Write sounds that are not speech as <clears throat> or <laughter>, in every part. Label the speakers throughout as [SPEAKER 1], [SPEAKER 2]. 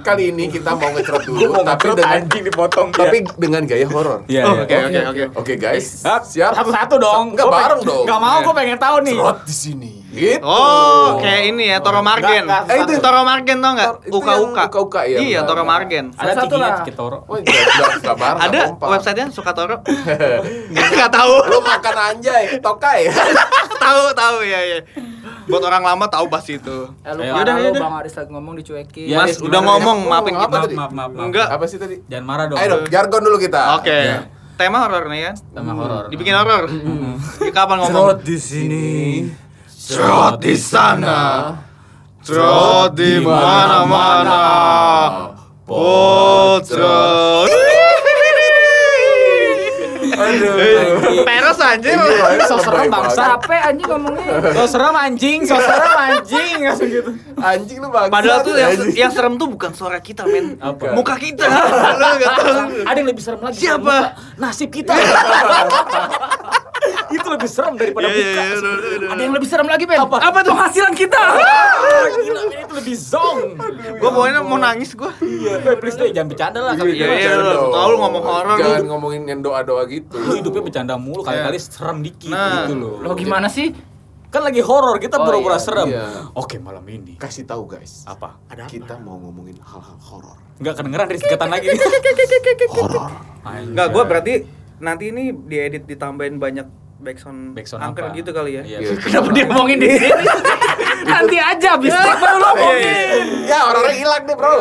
[SPEAKER 1] kali ini kita mau ngecerot
[SPEAKER 2] Gua
[SPEAKER 1] dulu,
[SPEAKER 2] mau
[SPEAKER 1] tapi
[SPEAKER 2] ngeprot
[SPEAKER 1] dengan
[SPEAKER 2] anjing dipotong dia.
[SPEAKER 1] tapi dengan gaya horor.
[SPEAKER 2] Iya, iya.
[SPEAKER 3] Oke oke oke.
[SPEAKER 1] Oke
[SPEAKER 3] Eh,
[SPEAKER 1] guys,
[SPEAKER 2] Hap,
[SPEAKER 1] siap?
[SPEAKER 3] Satu-satu dong.
[SPEAKER 1] Enggak
[SPEAKER 3] Gua
[SPEAKER 1] bareng
[SPEAKER 3] pengen-
[SPEAKER 1] dong.
[SPEAKER 3] Nggak mau, gue pengen tahu nih.
[SPEAKER 1] Cerot di sini. Gitu.
[SPEAKER 4] Iya.
[SPEAKER 3] Oh.
[SPEAKER 4] Oh, kayak ini ya, Toro Margen.
[SPEAKER 3] Enggak, enggak,
[SPEAKER 4] Eh, itu Toro Margen tau nggak?
[SPEAKER 1] Itu yang
[SPEAKER 4] Uka-uka.
[SPEAKER 1] Uka-uka, iya,
[SPEAKER 4] Iya,
[SPEAKER 1] benar.
[SPEAKER 4] Toro Margen.
[SPEAKER 2] Ada
[SPEAKER 3] Satu-satu
[SPEAKER 2] tikinya,
[SPEAKER 3] lah.
[SPEAKER 2] tiki toro.
[SPEAKER 1] Oh, enggak, enggak, enggak bareng,
[SPEAKER 4] Ada
[SPEAKER 1] enggak kompak.
[SPEAKER 4] websitenya suka Toro? <laughs> Nggak tahu.
[SPEAKER 1] <laughs>
[SPEAKER 4] <laughs>
[SPEAKER 1] Lu makan anjay, tokai.
[SPEAKER 4] Tahu, tahu ya ya. Buat orang lama tahu pas itu.
[SPEAKER 3] Eh, lu
[SPEAKER 2] Ayo.
[SPEAKER 3] parah
[SPEAKER 2] Yaudah,
[SPEAKER 3] lu,
[SPEAKER 2] yaudah.
[SPEAKER 3] Bang Aris lagi ngomong dicuekin.
[SPEAKER 2] Ya,
[SPEAKER 4] Mas
[SPEAKER 2] gimana
[SPEAKER 4] udah
[SPEAKER 2] ya?
[SPEAKER 4] ngomong,
[SPEAKER 1] Lu
[SPEAKER 4] maafin
[SPEAKER 1] ngomong apa
[SPEAKER 4] kita.
[SPEAKER 1] tadi?
[SPEAKER 2] Maaf, maaf, maaf.
[SPEAKER 4] Enggak.
[SPEAKER 1] Apa sih tadi?
[SPEAKER 2] Jangan marah dong.
[SPEAKER 1] Ayo dong, jargon dulu kita.
[SPEAKER 4] Oke.
[SPEAKER 2] Iya.
[SPEAKER 4] Tema horor nih kan.
[SPEAKER 2] Sama horor.
[SPEAKER 4] Dibikin horor. Kapan
[SPEAKER 2] Cerot
[SPEAKER 4] ngomong?
[SPEAKER 2] di sini.
[SPEAKER 4] Cerot di sana. Cerot di mana-mana. Pocot.
[SPEAKER 2] Aduh.
[SPEAKER 4] Iya. Peres anjir.
[SPEAKER 1] Iya.
[SPEAKER 3] So
[SPEAKER 1] Lebay
[SPEAKER 3] serem bang,
[SPEAKER 1] banget.
[SPEAKER 3] capek anjing ngomongnya.
[SPEAKER 2] So serem anjing, so serem anjing langsung gitu.
[SPEAKER 1] Anjing lu bangsa.
[SPEAKER 4] Padahal tuh yang,
[SPEAKER 1] Anjing.
[SPEAKER 4] yang serem tuh bukan suara kita, men.
[SPEAKER 2] Apa?
[SPEAKER 4] Muka kita. <laughs> Lu nggak tahu.
[SPEAKER 3] Ada yang lebih serem lagi.
[SPEAKER 4] Siapa?
[SPEAKER 3] Buka. Nasib kita. Itu lebih serem daripada
[SPEAKER 4] Iya, iya,
[SPEAKER 3] buka.
[SPEAKER 4] iya, udah, udah, udah.
[SPEAKER 3] Ada yang lebih serem lagi, Ben. Apa? Apa tuh? Penghasilan kita. Gila, Ben, itu lebih zong.
[SPEAKER 4] Gua pokoknya mau nangis gua.
[SPEAKER 2] Iya.
[SPEAKER 3] Eh, Please deh, jangan bercanda lah. sama
[SPEAKER 4] Iya,
[SPEAKER 3] gua.
[SPEAKER 4] iya,
[SPEAKER 1] Jangan
[SPEAKER 4] lu
[SPEAKER 1] dong.
[SPEAKER 4] tahu lu ngomong horor
[SPEAKER 1] Jangan
[SPEAKER 4] lu.
[SPEAKER 1] ngomongin yang doa-doa gitu.
[SPEAKER 2] Lu hidupnya bercanda mulu, kali-kali serem dikit
[SPEAKER 4] Iya. Nah.
[SPEAKER 2] gitu loh.
[SPEAKER 3] Lo gimana sih?
[SPEAKER 2] Kan lagi horor, kita
[SPEAKER 3] Oh,
[SPEAKER 2] pura-pura
[SPEAKER 3] iya,
[SPEAKER 2] serem.
[SPEAKER 1] iya.
[SPEAKER 2] Oke, malam ini.
[SPEAKER 1] Kasih tahu guys.
[SPEAKER 2] Apa? Ada
[SPEAKER 1] Kita mau ngomongin hal-hal horor.
[SPEAKER 2] Enggak kedengeran dari singkatan lagi.
[SPEAKER 1] Horor.
[SPEAKER 4] Enggak, gua berarti nanti ini diedit ditambahin banyak backsound,
[SPEAKER 2] Backsound
[SPEAKER 4] angker
[SPEAKER 2] apa?
[SPEAKER 4] gitu kali ya.
[SPEAKER 2] Iya.
[SPEAKER 1] Gitu.
[SPEAKER 3] Kenapa dia ngomongin di sini? Nanti aja abis break baru lo ngomongin.
[SPEAKER 1] Ya orang-orang hilang nih bro.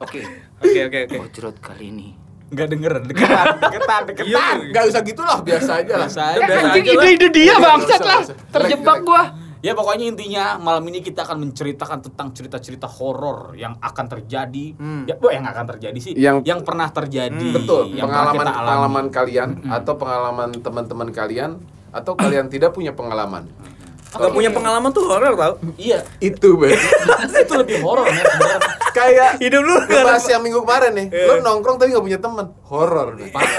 [SPEAKER 3] Oke,
[SPEAKER 4] Oke, oke, oke.
[SPEAKER 3] bocrot kali ini.
[SPEAKER 2] Enggak dengeran, deketan, deketan, deketan.
[SPEAKER 4] Iya.
[SPEAKER 1] Gak usah gitulah biasa aja lah.
[SPEAKER 2] Biasa aja,
[SPEAKER 3] Ya,
[SPEAKER 2] biasa aja
[SPEAKER 3] anjing
[SPEAKER 2] lah.
[SPEAKER 3] ide-ide dia
[SPEAKER 1] Iya,
[SPEAKER 3] bangsat
[SPEAKER 1] dosa,
[SPEAKER 3] lah.
[SPEAKER 1] dosa.
[SPEAKER 3] Terjebak
[SPEAKER 1] Jelek, jelek.
[SPEAKER 3] gua.
[SPEAKER 2] Ya pokoknya intinya malam ini kita akan menceritakan tentang cerita-cerita horor yang akan terjadi.
[SPEAKER 4] Hmm.
[SPEAKER 2] Ya, bu, yang akan terjadi sih.
[SPEAKER 1] Yang-
[SPEAKER 2] pernah terjadi.
[SPEAKER 1] Betul.
[SPEAKER 2] yang
[SPEAKER 1] pengalaman
[SPEAKER 2] pernah kita alami.
[SPEAKER 1] pengalaman kalian atau pengalaman teman-teman kalian atau kalian tidak punya pengalaman.
[SPEAKER 4] Gak punya pengalaman tuh horor tau.
[SPEAKER 2] Iya, <laughs>
[SPEAKER 1] Itu Ben.
[SPEAKER 2] itu lebih horor men sebenarnya.
[SPEAKER 1] <laughs> Kayak
[SPEAKER 4] Hidup lu
[SPEAKER 1] Lu bahas yang minggu kemarin nih. Lu nongkrong tapi gak punya teman. Horor. Ben.
[SPEAKER 2] Parah.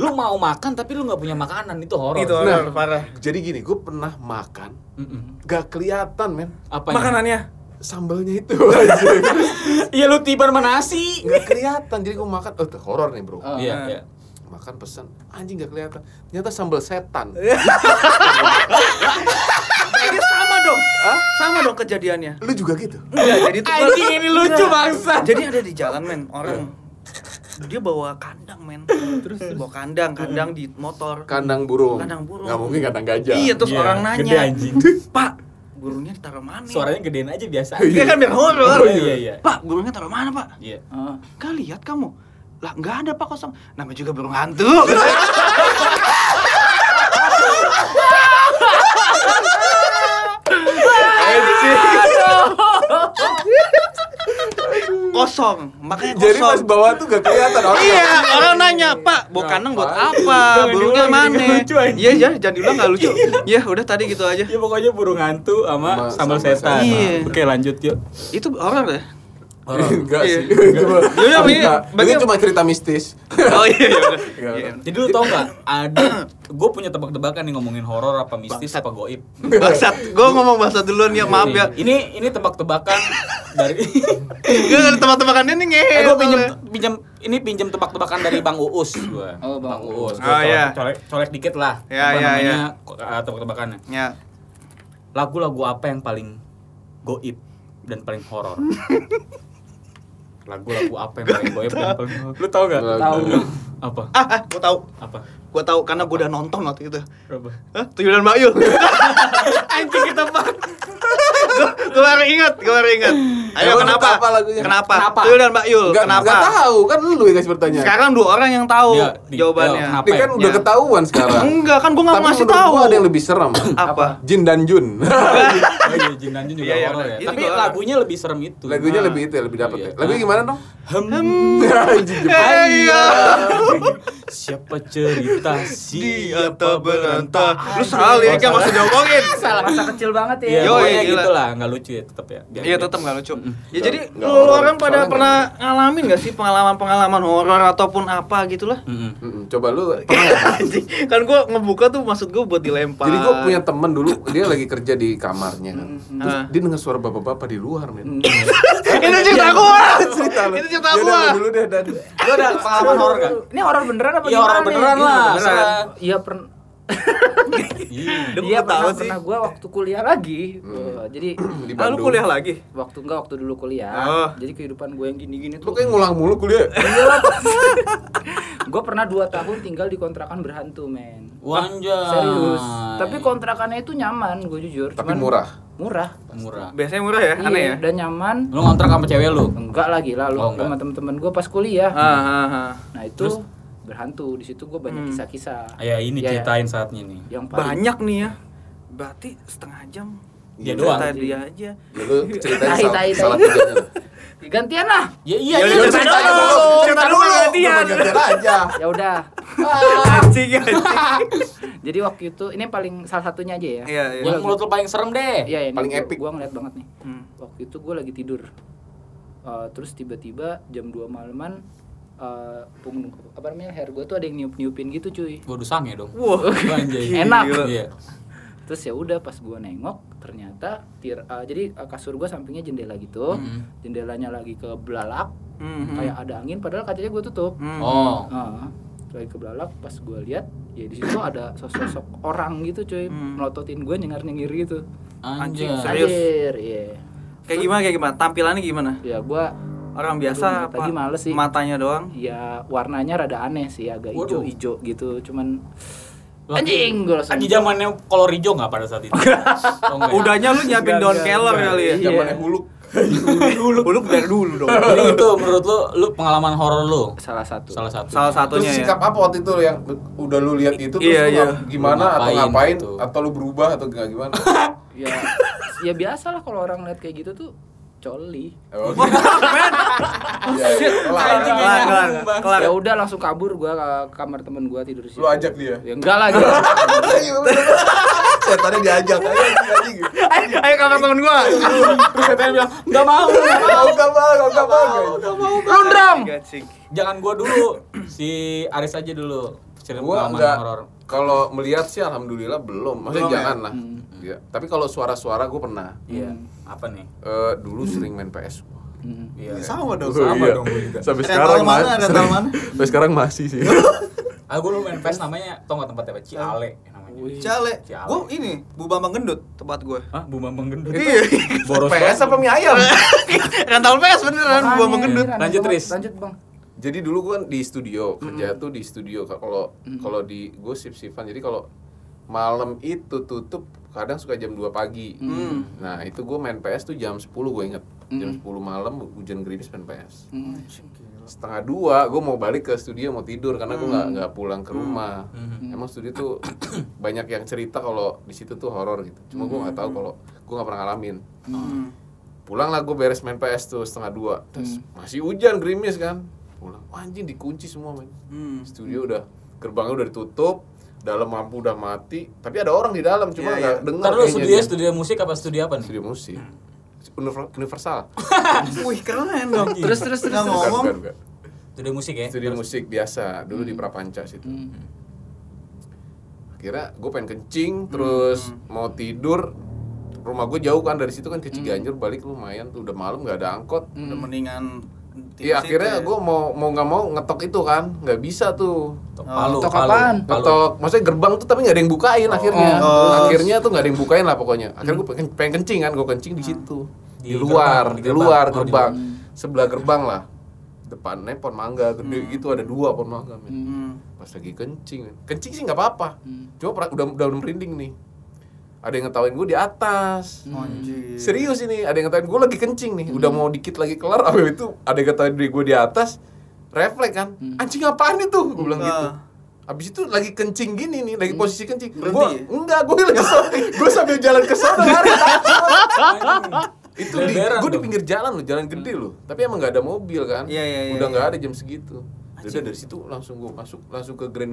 [SPEAKER 2] Lu mau makan tapi lu nggak punya makanan itu horor.
[SPEAKER 4] Itu horor parah.
[SPEAKER 1] Jadi gini, gue pernah makan
[SPEAKER 2] Mm-mm.
[SPEAKER 1] gak kelihatan men
[SPEAKER 2] Apa
[SPEAKER 4] Makanannya.
[SPEAKER 1] sambalnya itu <laughs> aja
[SPEAKER 2] Iya lu tiba sama nasi.
[SPEAKER 1] nggak kelihatan jadi gue makan oh itu horor nih bro
[SPEAKER 3] Oh.
[SPEAKER 2] Iya, iya.
[SPEAKER 1] makan pesan anjing nggak kelihatan ternyata sambal setan
[SPEAKER 4] Kayaknya Nah, sama dong. Sama dong kejadiannya.
[SPEAKER 1] lu juga gitu
[SPEAKER 4] Enggak, jadi tuh gua-
[SPEAKER 2] Anjing ini lucu
[SPEAKER 4] Enggak.
[SPEAKER 2] bangsa.
[SPEAKER 4] Jadi ada di jalan men, orang dia bawa kandang men. Terus bawa kandang, kandang di motor.
[SPEAKER 1] kandang burung
[SPEAKER 4] Kandang burung.
[SPEAKER 1] nggak mungkin kandang gajah
[SPEAKER 4] Iya, terus
[SPEAKER 2] Iya,
[SPEAKER 4] orang nanya.
[SPEAKER 2] gede
[SPEAKER 4] <laughs>
[SPEAKER 2] anjing.
[SPEAKER 4] Pak, burungnya ditaruh mana? ya?
[SPEAKER 2] Suaranya gedein aja biasa.
[SPEAKER 4] Dia kan biar horor.
[SPEAKER 2] Oh, iya, iya.
[SPEAKER 4] Pak, burungnya taruh mana, Pak?
[SPEAKER 2] Iya.
[SPEAKER 3] Ah.
[SPEAKER 4] Enggak lihat kamu. Lah, enggak ada Pak kosong. Namanya juga burung hantu. kosong, makanya
[SPEAKER 1] jadi pas
[SPEAKER 4] kosong.
[SPEAKER 1] bawah tuh nggak kelihatan orang
[SPEAKER 4] Iya, orang nanya, "Pak, bawa kandang buat apa?
[SPEAKER 2] Ya, Jangan
[SPEAKER 4] Burungnya
[SPEAKER 2] diulang, jadi
[SPEAKER 4] mana?"
[SPEAKER 2] nggak lucu, anjing.
[SPEAKER 4] Iya, iya, jangan diulang nggak lucu. Ya, udah tadi gitu aja.
[SPEAKER 2] Ya pokoknya burung hantu sama
[SPEAKER 1] Sama-
[SPEAKER 2] sambal
[SPEAKER 1] sambal
[SPEAKER 2] setan.
[SPEAKER 4] setan.
[SPEAKER 2] Oke, lanjut yuk.
[SPEAKER 4] Itu horor ya?
[SPEAKER 1] <laughs> enggak
[SPEAKER 4] <laughs> Iya.
[SPEAKER 1] sih itu mah-
[SPEAKER 4] Yaudah, ini
[SPEAKER 1] enggak. ini
[SPEAKER 4] bagi-
[SPEAKER 1] cuma cerita mistis
[SPEAKER 4] Oh iya, iya udah.
[SPEAKER 1] Iya,
[SPEAKER 4] Iya.
[SPEAKER 2] Jadi lu tau
[SPEAKER 4] <coughs>
[SPEAKER 2] nggak? Ada, gue punya tebak-tebakan nih ngomongin horor apa mistis apa goib.
[SPEAKER 4] Iya. Bangsat, gua ngomong bahasa duluan ya, maaf ya.
[SPEAKER 2] Nih, Ini ini tebak-tebakan
[SPEAKER 4] <laughs>
[SPEAKER 2] dari.
[SPEAKER 4] Gue ada tebak-tebakannya nih nge.
[SPEAKER 2] eh, gue pinjam pinjam ini pinjam tebak-tebakan dari Bang Uus gue.
[SPEAKER 3] Oh, Bang
[SPEAKER 2] Uus.
[SPEAKER 3] Uus.
[SPEAKER 4] Oh,
[SPEAKER 2] Gua
[SPEAKER 4] iya.
[SPEAKER 2] colek, colek dikit lah.
[SPEAKER 4] Iya,
[SPEAKER 2] apa
[SPEAKER 4] iya,
[SPEAKER 2] namanya
[SPEAKER 4] iya.
[SPEAKER 2] ko- eh, tebak-tebakannya.
[SPEAKER 4] Ya.
[SPEAKER 2] Lagu-lagu apa yang paling goib dan paling
[SPEAKER 4] <laughs>
[SPEAKER 2] horor? Lagu-lagu apa yang paling goib dan paling horor? Lu tau nggak?
[SPEAKER 1] Tahu.
[SPEAKER 2] Apa?
[SPEAKER 4] Ah, ah, gua tahu.
[SPEAKER 2] Apa?
[SPEAKER 4] Gua tahu karena gua udah nonton waktu itu.
[SPEAKER 2] Apa?
[SPEAKER 4] Hah? Tuyul dan Mbak Yul.
[SPEAKER 2] <laughs> Anjing kita bang.
[SPEAKER 4] gua, gua baru ingat, gua baru ingat. Ayo
[SPEAKER 1] Emang
[SPEAKER 4] kenapa?
[SPEAKER 1] apa lagunya?
[SPEAKER 4] Kenapa?
[SPEAKER 2] Kenapa?
[SPEAKER 4] Tuyul dan Mbak Yul.
[SPEAKER 1] nggak
[SPEAKER 4] kenapa?
[SPEAKER 1] nggak tahu kan lu yang kasih pertanyaan
[SPEAKER 4] Sekarang dua orang yang tahu
[SPEAKER 2] Iya, di-
[SPEAKER 4] jawabannya.
[SPEAKER 2] iya, kenapa?
[SPEAKER 1] ini kan udah
[SPEAKER 4] Ya.
[SPEAKER 1] ketahuan sekarang
[SPEAKER 4] Enggak, kan gua enggak
[SPEAKER 1] tapi
[SPEAKER 4] ngasih
[SPEAKER 1] menurut
[SPEAKER 4] tahu.
[SPEAKER 1] gua ada yang lebih serem
[SPEAKER 4] apa?
[SPEAKER 1] Jin dan Jun
[SPEAKER 4] <laughs>
[SPEAKER 2] Oh iya, Jin Nanjun juga
[SPEAKER 4] Iya, iya,
[SPEAKER 2] horor
[SPEAKER 4] benar.
[SPEAKER 2] ya.
[SPEAKER 4] Itu
[SPEAKER 2] Tapi
[SPEAKER 4] juga horor.
[SPEAKER 2] lagunya lebih serem itu.
[SPEAKER 1] lagunya
[SPEAKER 4] Nah. <laughs>
[SPEAKER 1] lebih itu ya, lebih dapet
[SPEAKER 2] Iya.
[SPEAKER 1] ya lagunya gimana dong
[SPEAKER 2] Hem.
[SPEAKER 1] Anjing, Jepang.
[SPEAKER 4] Iya.
[SPEAKER 2] Iya. <laughs> Siapa cerita siapa
[SPEAKER 5] tak
[SPEAKER 2] berantah.
[SPEAKER 5] Lu salah
[SPEAKER 2] ya,
[SPEAKER 5] liriknya
[SPEAKER 4] kan
[SPEAKER 5] masih diomongin.
[SPEAKER 3] Masa kecil banget ya.
[SPEAKER 2] Iya,
[SPEAKER 5] Yo,
[SPEAKER 2] pokoknya
[SPEAKER 5] gila.
[SPEAKER 2] gitu lah, nggak lucu ya tetap ya. Biar-
[SPEAKER 5] Iya
[SPEAKER 2] biar-
[SPEAKER 5] tetap nggak lucu. Ya
[SPEAKER 1] Nggak-
[SPEAKER 5] jadi
[SPEAKER 1] nggak
[SPEAKER 5] lu
[SPEAKER 1] horor.
[SPEAKER 5] orang pada
[SPEAKER 1] Soalnya
[SPEAKER 5] pernah ngalamin nggak sih pengalaman-pengalaman horor ataupun apa gitu lah?
[SPEAKER 2] Mm-mm.
[SPEAKER 1] Mm-mm, coba lu
[SPEAKER 4] Iya.
[SPEAKER 1] pernah nggak?
[SPEAKER 5] Anjing, kan gua ngebuka tuh maksud gua buat dilempar.
[SPEAKER 1] Jadi gue
[SPEAKER 5] <laughs>
[SPEAKER 4] Iya.
[SPEAKER 1] punya temen dulu dia lagi kerja di kamarnya kan. Terus
[SPEAKER 5] Ah.
[SPEAKER 1] dia denger suara bapak-bapak di luar
[SPEAKER 4] Mm.
[SPEAKER 1] men. <laughs>
[SPEAKER 5] Itu cerita gua.
[SPEAKER 1] Cerita lu.
[SPEAKER 5] Itu cerita
[SPEAKER 1] Ya udah,
[SPEAKER 5] gua.
[SPEAKER 1] lu dulu deh
[SPEAKER 4] Ah,
[SPEAKER 1] dan
[SPEAKER 2] Lu ada pengalaman horor nggak?
[SPEAKER 3] Ini horor beneran apa
[SPEAKER 2] Iya, horor
[SPEAKER 3] gimana nih?
[SPEAKER 2] beneran
[SPEAKER 3] Iya,
[SPEAKER 2] lah.
[SPEAKER 3] beneran.
[SPEAKER 2] Serah.
[SPEAKER 3] Iya pernah.
[SPEAKER 2] Iya.
[SPEAKER 3] Iya pernah, pernah gue waktu kuliah lagi. Eh, jadi
[SPEAKER 1] di
[SPEAKER 5] Ah, lu
[SPEAKER 1] Bandung.
[SPEAKER 5] kuliah lagi?
[SPEAKER 3] waktu enggak waktu dulu kuliah.
[SPEAKER 5] Oh.
[SPEAKER 3] Jadi kehidupan gue yang gini-gini
[SPEAKER 1] Lu
[SPEAKER 3] tuh.
[SPEAKER 1] kayak ngulang mulu
[SPEAKER 4] <laughs>
[SPEAKER 1] kuliah.
[SPEAKER 3] gue pernah 2 tahun tinggal di kontrakan berhantu men.
[SPEAKER 2] Wanjai.
[SPEAKER 3] Serius. Tapi kontrakannya itu nyaman gue jujur.
[SPEAKER 1] Tapi murah.
[SPEAKER 3] Murah.
[SPEAKER 2] murah.
[SPEAKER 5] Biasanya murah ya,
[SPEAKER 4] Eh,
[SPEAKER 5] aneh
[SPEAKER 3] Iya,
[SPEAKER 5] ya.
[SPEAKER 3] Dan nyaman.
[SPEAKER 2] Lu ngontrak sama cewek lu?
[SPEAKER 3] Enggak lagi lah lu
[SPEAKER 2] Oh, enggak.
[SPEAKER 3] sama temen-temen gue pas kuliah.
[SPEAKER 5] Ah, ah, ah.
[SPEAKER 3] Nah itu berhantu di situ gue banyak kisah-kisah.
[SPEAKER 2] Ya ini
[SPEAKER 3] Ya,
[SPEAKER 2] ceritain saatnya nih.
[SPEAKER 3] Yang paling
[SPEAKER 5] Banyak nih ya. Berarti setengah jam.
[SPEAKER 2] Dia
[SPEAKER 5] Cerita
[SPEAKER 2] doang.
[SPEAKER 5] Dia aja.
[SPEAKER 1] Ya, lu ceritain
[SPEAKER 3] Tai,
[SPEAKER 1] salah,
[SPEAKER 3] tai, tai.
[SPEAKER 1] salah kerjanya lu.
[SPEAKER 3] gantian lah.
[SPEAKER 2] Ya
[SPEAKER 5] Ya,
[SPEAKER 2] iya iya.
[SPEAKER 5] lu
[SPEAKER 2] lu
[SPEAKER 5] cerita
[SPEAKER 2] ceritain.
[SPEAKER 5] dulu.
[SPEAKER 1] Cerita dulu.
[SPEAKER 4] Iya.
[SPEAKER 1] Gantian. Gantian aja.
[SPEAKER 3] Ya udah.
[SPEAKER 5] Anjing, <laughs> anjing.
[SPEAKER 3] Jadi waktu itu ini paling salah satunya aja ya.
[SPEAKER 5] Iya, iya.
[SPEAKER 2] Yang mulut lu paling serem deh.
[SPEAKER 3] Iya, ini
[SPEAKER 1] Paling
[SPEAKER 3] gua-
[SPEAKER 1] epic.
[SPEAKER 3] Gua ngeliat banget nih.
[SPEAKER 5] Hmm.
[SPEAKER 3] Waktu itu gua lagi tidur. Eh, terus tiba-tiba jam 2 malaman eh pung apa namanya hair gua tuh ada yang niup-niupin gitu cuy.
[SPEAKER 2] Gua dusang ya dong.
[SPEAKER 5] Wah.
[SPEAKER 2] Wanjai.
[SPEAKER 3] Enak.
[SPEAKER 2] Iya.
[SPEAKER 3] Terus ya udah pas gua nengok ternyata tir eh, jadi eh, kasur gua sampingnya jendela gitu.
[SPEAKER 2] Mm-mm.
[SPEAKER 3] Jendelanya lagi ke belalak
[SPEAKER 4] Mm-hmm.
[SPEAKER 5] Mhm.
[SPEAKER 3] kayak ada angin padahal kacanya gua tutup.
[SPEAKER 5] Mhm.
[SPEAKER 2] Oh.
[SPEAKER 3] Ah, lagi ke belalak pas gua lihat ya di situ ada sosok orang gitu cuy
[SPEAKER 5] Hmm.
[SPEAKER 3] melototin gua nyengar-nyengir gitu.
[SPEAKER 2] Anjay.
[SPEAKER 5] Anjing, serius.
[SPEAKER 3] Anjir, iya.
[SPEAKER 5] Kayak gimana kayak gimana? Tampilannya gimana?
[SPEAKER 3] Ya gua
[SPEAKER 5] Orang biasa
[SPEAKER 3] Aduh, tadi males sih.
[SPEAKER 5] matanya doang.
[SPEAKER 3] ya warnanya rada aneh sih agak
[SPEAKER 2] Waduh.
[SPEAKER 3] ijo-ijo gitu cuman
[SPEAKER 2] Lagi-
[SPEAKER 3] anjing gue langsung
[SPEAKER 2] Lagi zamannya kolor hijau nggak pada saat itu? Oh, nggak ya?
[SPEAKER 5] Udahnya lu nyiapin
[SPEAKER 3] Enggak,
[SPEAKER 5] daun
[SPEAKER 3] enggak,
[SPEAKER 5] keller
[SPEAKER 3] enggak.
[SPEAKER 5] kali ya.
[SPEAKER 3] Iya.
[SPEAKER 1] Zamannya huluk.
[SPEAKER 5] Dulu dulu
[SPEAKER 4] <laughs>
[SPEAKER 5] dari dulu dong.
[SPEAKER 2] Jadi itu menurut lu lu pengalaman horor lu
[SPEAKER 3] salah satu
[SPEAKER 2] salah satu.
[SPEAKER 5] Salah
[SPEAKER 1] Terus
[SPEAKER 5] satunya
[SPEAKER 4] Iya.
[SPEAKER 5] ya.
[SPEAKER 1] sikap apa waktu itu lu yang udah lu lihat itu terus
[SPEAKER 5] Iya,
[SPEAKER 1] lu
[SPEAKER 5] iya.
[SPEAKER 1] ngap- gimana atau
[SPEAKER 2] Ngapain
[SPEAKER 1] ngapain
[SPEAKER 2] gitu.
[SPEAKER 1] atau lu berubah atau nggak gimana?
[SPEAKER 3] ya ya biasa lah kalau orang lihat kayak gitu tuh coli
[SPEAKER 1] Oh, gitu. Iya, iya. Kelar.
[SPEAKER 5] Kelar, kelar, kelar, kelar.
[SPEAKER 3] ya udah langsung kabur gua ke kamar temen gua tidur sih
[SPEAKER 1] Lu ajak dia.
[SPEAKER 3] ya enggak lah gitu
[SPEAKER 1] <laughs> Setannya diajak ayo anjing.
[SPEAKER 5] Ayo, ayo kamar temen gua.
[SPEAKER 2] Terus katanya bilang nggak mau, nggak mau,
[SPEAKER 1] Kau enggak mau, kau enggak mau.
[SPEAKER 2] nggak mau.
[SPEAKER 3] rundram
[SPEAKER 1] Iya.
[SPEAKER 5] Gacing.
[SPEAKER 2] Jangan gua dulu, si Aris aja dulu. Cerita
[SPEAKER 1] Gua
[SPEAKER 2] pengalaman
[SPEAKER 1] enggak
[SPEAKER 2] horor.
[SPEAKER 1] kalau melihat sih alhamdulillah belum. Maksudnya
[SPEAKER 5] Belum ya?
[SPEAKER 1] jangan lah. Iya. Tapi kalau suara-suara gue pernah.
[SPEAKER 3] iya
[SPEAKER 2] Apa nih?
[SPEAKER 1] Eh, dulu sering main PS. gua.
[SPEAKER 3] Hmm.
[SPEAKER 2] Iya.
[SPEAKER 4] Sama dong,
[SPEAKER 1] Oh,
[SPEAKER 4] sama
[SPEAKER 1] iya.
[SPEAKER 4] dong gua juga.
[SPEAKER 1] Sampai
[SPEAKER 4] Rental
[SPEAKER 1] sekarang
[SPEAKER 4] mana,
[SPEAKER 1] masih-
[SPEAKER 4] rental
[SPEAKER 1] sering-
[SPEAKER 4] mana?
[SPEAKER 1] Sampai sekarang masih sih.
[SPEAKER 2] Ah, gua dulu main PES namanya, tau nggak tempatnya apa? Ciale namanya.
[SPEAKER 3] Wih.
[SPEAKER 4] Cale.
[SPEAKER 2] Ciale.
[SPEAKER 4] Gua ini Bu Bambang Gendut.
[SPEAKER 5] Tempat gua.
[SPEAKER 2] Hah, Bu Bambang Gendut.
[SPEAKER 5] Iya.
[SPEAKER 2] Boros
[SPEAKER 1] PS apa mie ayam?
[SPEAKER 5] Rental PS
[SPEAKER 1] Kan
[SPEAKER 5] beneran Bu Bambang
[SPEAKER 3] Makanya,
[SPEAKER 5] Gendut.
[SPEAKER 3] aneh
[SPEAKER 2] Lanjut,
[SPEAKER 3] banget.
[SPEAKER 2] Riz.
[SPEAKER 3] lanjut bang
[SPEAKER 1] jadi dulu gue kan di studio kerja tuh di studio Kak. kalau kalau di gue sip sipan jadi kalau malam itu tutup kadang suka jam 2 pagi nah itu gue main PS tuh jam 10 gue inget jam 10 malam hujan gerimis main PS
[SPEAKER 3] Hmm.
[SPEAKER 1] setengah dua gue mau balik ke studio mau tidur karena gue
[SPEAKER 2] Hmm.
[SPEAKER 1] nggak nggak pulang ke rumah emang studio tuh <coughs> banyak yang cerita kalau di situ tuh horor gitu cuma gue nggak tahu
[SPEAKER 2] Hmm.
[SPEAKER 1] kalau gue nggak pernah ngalamin pulang lah gue beres main PS tuh setengah dua terus masih hujan gerimis kan pulang Wah, anjing dikunci semua men
[SPEAKER 2] Hmm.
[SPEAKER 1] studio udah gerbangnya udah ditutup dalam lampu udah mati tapi ada orang di dalam cuma nggak dengar
[SPEAKER 2] Iya, Ntar lu
[SPEAKER 1] kayaknya
[SPEAKER 2] studio
[SPEAKER 1] dia.
[SPEAKER 2] studio musik apa studio apa nih?
[SPEAKER 1] iya, studio musik Univer- universal
[SPEAKER 2] Oh.
[SPEAKER 5] Ah.
[SPEAKER 4] Wih, keren
[SPEAKER 1] <laughs>
[SPEAKER 4] dong.
[SPEAKER 3] terus terus terus
[SPEAKER 4] Nah,
[SPEAKER 1] Bukan,
[SPEAKER 4] ngomong
[SPEAKER 1] bukan, bukan.
[SPEAKER 2] Studio musik ya.
[SPEAKER 1] studio musik biasa dulu di Prapanca situ
[SPEAKER 3] Hmm.
[SPEAKER 1] akhirnya gue pengen kencing terus
[SPEAKER 2] Hmm.
[SPEAKER 1] mau tidur rumah gue jauh kan dari situ kan ke
[SPEAKER 2] Hmm.
[SPEAKER 1] Ciganjur balik lumayan tuh udah malam nggak ada angkot
[SPEAKER 5] Hmm.
[SPEAKER 4] Udah mendingan ya.
[SPEAKER 1] Iya
[SPEAKER 2] ya.
[SPEAKER 1] akhirnya gue mau mau nggak mau ngetok itu kan nggak bisa tuh
[SPEAKER 2] Tok Palu,
[SPEAKER 3] Tok
[SPEAKER 2] Palu,
[SPEAKER 3] apaan?
[SPEAKER 2] Palu.
[SPEAKER 1] ngetok maksudnya gerbang tuh tapi nggak ada yang bukain akhirnya
[SPEAKER 4] Oh.
[SPEAKER 1] akhirnya tuh nggak ada yang bukain lah pokoknya akhirnya gue pengen, pengen kencing kan gue kencing di situ
[SPEAKER 2] Hmm. Ah. Di
[SPEAKER 1] di, luar
[SPEAKER 2] gerbang, di
[SPEAKER 1] di luar
[SPEAKER 2] gerbang. Oh, di
[SPEAKER 1] gerbang sebelah gerbang lah depannya pohon mangga gede
[SPEAKER 2] Hmm.
[SPEAKER 1] gitu ada dua pohon mangga men.
[SPEAKER 3] hmm,
[SPEAKER 4] Hmm,
[SPEAKER 1] pas lagi kencing men. kencing sih nggak apa-apa cuma pra- udah udah udah merinding nih ada yang ngetawain gue di atas
[SPEAKER 5] Hmm.
[SPEAKER 4] Anjir.
[SPEAKER 1] Serius ini, ada yang ngatain gue lagi kencing nih, udah mau dikit lagi kelar, <laughs> abis itu ada yang ngatain gue di atas, refleks kan,
[SPEAKER 5] Hmm.
[SPEAKER 1] anjing apaan itu, gue bilang gitu.
[SPEAKER 4] Ah.
[SPEAKER 1] Abis itu lagi kencing gini nih,
[SPEAKER 5] Hmm.
[SPEAKER 1] lagi posisi kencing.
[SPEAKER 4] Berhenti?
[SPEAKER 1] Gua enggak, gue lagi
[SPEAKER 5] <laughs>
[SPEAKER 1] gue sambil jalan ke sana lari takut. <laughs> itu di,
[SPEAKER 2] Beberan
[SPEAKER 1] gue di
[SPEAKER 2] dong.
[SPEAKER 1] pinggir jalan loh, jalan gede loh. Tapi emang nggak ada mobil kan,
[SPEAKER 5] Hmm. Iya, iya, iya, iya.
[SPEAKER 1] udah nggak ada jam segitu. Udah dari situ langsung gue masuk langsung ke Grand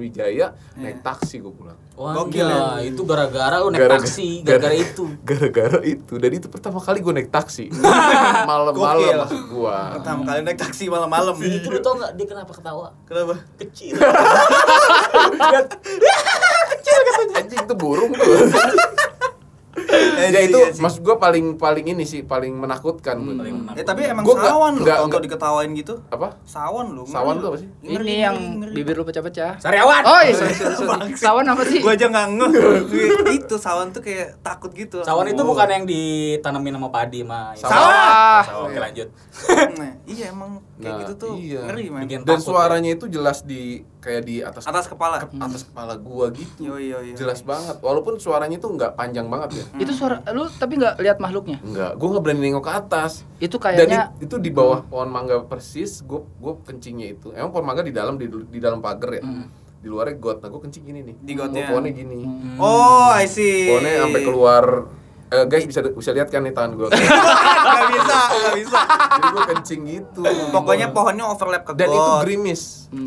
[SPEAKER 5] Iya.
[SPEAKER 1] Wijaya naik taksi gue pulang.
[SPEAKER 2] Wah,
[SPEAKER 4] Gokil
[SPEAKER 2] gila, itu gara-gara lu naik
[SPEAKER 1] Gara-gara- <laughs>
[SPEAKER 2] taksi, gara-gara itu.
[SPEAKER 1] Gara-gara itu. Dan itu pertama kali gue naik
[SPEAKER 2] <laughs>
[SPEAKER 1] taksi.
[SPEAKER 4] Gokil.
[SPEAKER 1] Malam-malam maksud gue.
[SPEAKER 4] Pertama kali naik taksi malam-malam.
[SPEAKER 2] Itu lu tau gak dia kenapa ketawa?
[SPEAKER 4] Kenapa?
[SPEAKER 2] Kecil.
[SPEAKER 1] Anjing itu burung tuh.
[SPEAKER 2] <laughs>
[SPEAKER 1] ya itu
[SPEAKER 4] Iya sih.
[SPEAKER 1] maksud gue paling paling ini sih paling menakutkan. gua.
[SPEAKER 2] Hmm. Paling menakutkan.
[SPEAKER 4] Ya, tapi emang
[SPEAKER 1] Gua nggak-
[SPEAKER 4] sawan lu
[SPEAKER 1] nggak-
[SPEAKER 4] kalau
[SPEAKER 1] nggak-
[SPEAKER 4] diketawain gitu.
[SPEAKER 1] Apa?
[SPEAKER 4] Sawan lu. ngeri
[SPEAKER 1] Sawan
[SPEAKER 4] lu.
[SPEAKER 1] tuh apa sih?
[SPEAKER 4] Ngeri,
[SPEAKER 3] Ini yang
[SPEAKER 4] ngeri, ngeri. <laughs>
[SPEAKER 3] bibir lu pecah-pecah.
[SPEAKER 2] <laughs> Sariawan.
[SPEAKER 1] <laughs>
[SPEAKER 3] Oi, sorry, sorry, sorry. Sawan apa sih?
[SPEAKER 4] Gua aja nggak ngeh.
[SPEAKER 3] <laughs>
[SPEAKER 4] Itu sawan tuh kayak takut gitu.
[SPEAKER 2] Sawan itu
[SPEAKER 4] Oh.
[SPEAKER 2] bukan yang ditanamin sama padi mah.
[SPEAKER 1] Sawah!
[SPEAKER 3] Ah,
[SPEAKER 2] Sawah. Oke, lanjut.
[SPEAKER 4] Nah, iya emang kayak
[SPEAKER 1] Nah,
[SPEAKER 4] gitu tuh
[SPEAKER 1] iya.
[SPEAKER 4] ngeri men.
[SPEAKER 2] Bikin-
[SPEAKER 1] Dan
[SPEAKER 2] Takut, ya.
[SPEAKER 1] suaranya itu jelas di kayak di atas
[SPEAKER 4] Atas kepala.
[SPEAKER 1] ke-
[SPEAKER 2] Hmm.
[SPEAKER 1] atas kepala gua gitu.
[SPEAKER 4] Yo, yo,
[SPEAKER 2] Iya.
[SPEAKER 4] yo.
[SPEAKER 1] Jelas banget. Walaupun suaranya itu nggak panjang banget ya.
[SPEAKER 3] Itu suara lu tapi nggak lihat makhluknya.
[SPEAKER 2] Hmm.
[SPEAKER 1] Enggak, gue nggak berani nengok ke atas.
[SPEAKER 3] Itu
[SPEAKER 1] Dan
[SPEAKER 3] kayaknya
[SPEAKER 1] i- itu di bawah pohon mangga persis, gue gue kencingnya itu. Emang pohon mangga di dalam di, di dalam pagar ya. Di luarnya got, nah gue kencing gini nih.
[SPEAKER 4] Hmm. Di
[SPEAKER 1] Gua
[SPEAKER 4] gotnya.
[SPEAKER 1] Pohonnya gini.
[SPEAKER 4] Oh, I see.
[SPEAKER 1] Pohonnya sampai
[SPEAKER 4] <laughs>
[SPEAKER 1] keluar. Eh, guys bisa bisa lihat kan nih tangan gue.
[SPEAKER 4] Gak bisa, gak bisa.
[SPEAKER 1] Jadi gue kencing gitu.
[SPEAKER 4] Pokoknya pohonnya overlap ke
[SPEAKER 1] dan itu
[SPEAKER 4] got. Hmm.
[SPEAKER 1] gerimis.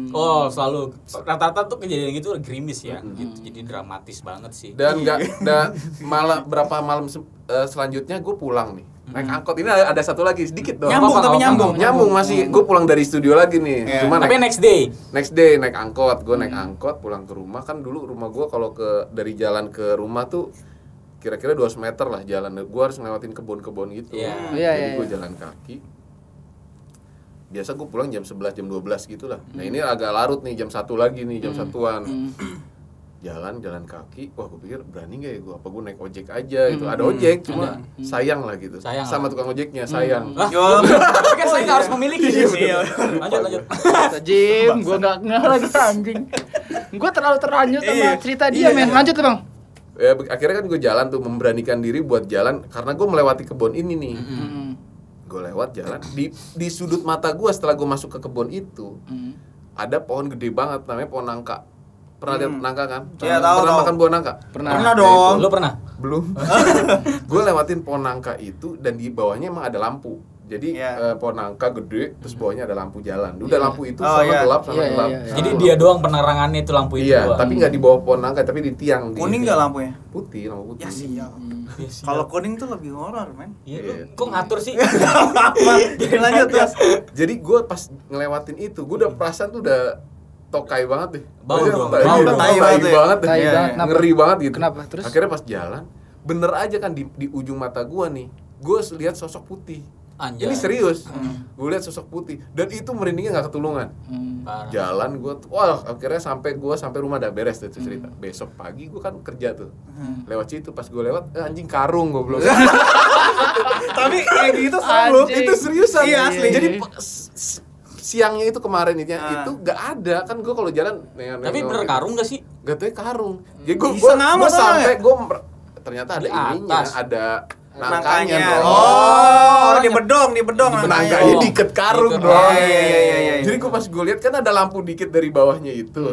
[SPEAKER 2] Oh, selalu rata-rata tuh kejadian gitu gerimis ya. Gitu. Jadi dramatis banget sih.
[SPEAKER 1] Dan
[SPEAKER 4] Iya.
[SPEAKER 1] nggak dan malah berapa malam se- eh, selanjutnya gue pulang nih. Naik angkot ini ada, ada satu lagi sedikit doang.
[SPEAKER 4] Hmm. Nyambung
[SPEAKER 2] Apa-apa,
[SPEAKER 4] tapi
[SPEAKER 2] apa-apa.
[SPEAKER 4] nyambung. Hmm.
[SPEAKER 1] Nyambung masih gue pulang dari studio lagi nih.
[SPEAKER 4] Iya.
[SPEAKER 1] Cuma
[SPEAKER 2] Tapi
[SPEAKER 1] naik-
[SPEAKER 2] next day.
[SPEAKER 1] next day naik angkot gue naik
[SPEAKER 2] Hmm.
[SPEAKER 1] angkot pulang ke rumah kan dulu rumah gue kalau ke dari jalan ke rumah tuh kira-kira 200 meter lah jalan gue harus ngelewatin kebun-kebun gitu
[SPEAKER 2] Iya.
[SPEAKER 3] Iya,
[SPEAKER 1] jadi
[SPEAKER 3] iya,
[SPEAKER 1] gue
[SPEAKER 3] iya.
[SPEAKER 1] jalan kaki biasa gue pulang jam 11 jam 12 gitu lah
[SPEAKER 2] Hmm.
[SPEAKER 1] nah ini agak larut nih jam satu lagi nih jam satuan jalan jalan kaki wah gue pikir berani gak ya gue apa gue naik ojek aja gitu
[SPEAKER 2] Hmm.
[SPEAKER 1] ada ojek cuma sayang lah gitu
[SPEAKER 2] Sayang
[SPEAKER 1] sama
[SPEAKER 2] lah. Hmm.
[SPEAKER 1] tukang ojeknya sayang
[SPEAKER 2] Lah,
[SPEAKER 4] <laughs> Yo.
[SPEAKER 2] tapi kan saya nggak harus memiliki. Iya. Lanjut, lanjut.
[SPEAKER 3] Jim, <laughs> gua nggak ngeh lagi anjing. Gua terlalu terlanjut sama cerita dia, men. Lanjut, Bang.
[SPEAKER 1] ya, be- akhirnya kan gue jalan tuh memberanikan diri buat jalan karena gue melewati kebun ini nih
[SPEAKER 3] Hmm.
[SPEAKER 1] gue lewat jalan di di sudut mata gue setelah gue masuk ke kebun itu
[SPEAKER 3] Hmm.
[SPEAKER 1] ada pohon gede banget namanya pohon nangka pernah lihat nangka kan
[SPEAKER 4] Iya,
[SPEAKER 1] pernah,
[SPEAKER 4] tahu,
[SPEAKER 1] pernah
[SPEAKER 4] tahu.
[SPEAKER 1] makan buah nangka
[SPEAKER 3] Pernah.
[SPEAKER 4] Pernah
[SPEAKER 1] Ya,
[SPEAKER 4] dong.
[SPEAKER 2] Lu pernah?
[SPEAKER 1] belum
[SPEAKER 4] <laughs>
[SPEAKER 1] gue lewatin pohon nangka itu dan di bawahnya emang ada lampu jadi
[SPEAKER 4] Iya.
[SPEAKER 1] eh, pohon nangka gede terus bawahnya ada lampu jalan udah lampu itu
[SPEAKER 4] Oh,
[SPEAKER 1] sama
[SPEAKER 4] iya.
[SPEAKER 1] gelap sama
[SPEAKER 3] Iya, iya,
[SPEAKER 1] gelap
[SPEAKER 3] iya, iya.
[SPEAKER 2] Jadi dia doang penerangannya itu lampu
[SPEAKER 1] Ya.
[SPEAKER 2] itu
[SPEAKER 1] iya
[SPEAKER 2] doang.
[SPEAKER 1] tapi nggak di bawah pohon nangka tapi di tiang di-
[SPEAKER 4] Kuning gak lampunya?
[SPEAKER 1] putih lampu putih
[SPEAKER 4] Ya sial.
[SPEAKER 2] Iya sih.
[SPEAKER 4] Kalau kuning tuh lebih horor, <laughs> men.
[SPEAKER 2] Iya,
[SPEAKER 1] Iya.
[SPEAKER 2] lu kok ngatur sih?
[SPEAKER 4] Jadi lanjut terus.
[SPEAKER 1] Jadi gue pas ngelewatin itu, gue udah perasaan tuh udah tokai banget deh.
[SPEAKER 2] Bau
[SPEAKER 1] Maksudnya
[SPEAKER 2] dong,
[SPEAKER 1] tokai,
[SPEAKER 2] bau
[SPEAKER 1] udah tokai
[SPEAKER 2] dong.
[SPEAKER 4] Tai banget ya.
[SPEAKER 1] banget deh.
[SPEAKER 3] Tai
[SPEAKER 1] Iya,
[SPEAKER 3] banget.
[SPEAKER 1] iya.
[SPEAKER 3] Kenapa?
[SPEAKER 1] Ngeri banget gitu.
[SPEAKER 3] Kenapa? Terus?
[SPEAKER 1] Akhirnya pas jalan, bener aja kan di, di ujung mata gue nih, gue lihat sosok putih.
[SPEAKER 2] Anjay.
[SPEAKER 1] Ini serius, gue lihat sosok putih dan itu merindingnya nggak ketulungan.
[SPEAKER 3] Hmm.
[SPEAKER 2] Parah.
[SPEAKER 1] Jalan gue tuh, wah akhirnya sampai gue sampai rumah udah beres tuh cerita.
[SPEAKER 3] Hmm.
[SPEAKER 1] Besok pagi gue kan kerja tuh, lewat situ pas gue lewat eh, anjing karung gue
[SPEAKER 3] <laughs>
[SPEAKER 1] belum.
[SPEAKER 4] Tapi kayak gitu seru.
[SPEAKER 3] Anjing.
[SPEAKER 1] itu seriusan
[SPEAKER 4] Iya, asli.
[SPEAKER 1] jadi pe- s- s- siangnya itu kemarin itu ya,
[SPEAKER 4] Ah.
[SPEAKER 1] itu nggak ada kan gue kalau jalan nengok
[SPEAKER 2] Tapi bener karung gak sih?
[SPEAKER 1] gak tau karung Ya jadi gue
[SPEAKER 4] Iseng amat soalnya.
[SPEAKER 1] sampai gue ternyata ada
[SPEAKER 2] Di
[SPEAKER 1] ininya
[SPEAKER 2] atas.
[SPEAKER 1] ada nangkanya
[SPEAKER 4] Nangkanya.
[SPEAKER 1] dong. Iya,
[SPEAKER 4] Oh, di bedong, di bedong nangkanya.
[SPEAKER 1] nangkanya
[SPEAKER 2] Oh.
[SPEAKER 1] diikat karung
[SPEAKER 2] Diikat.
[SPEAKER 1] dong
[SPEAKER 4] Iya, iya, iya, iya, iya.
[SPEAKER 1] jadi gue pas gue lihat kan ada lampu dikit dari bawahnya itu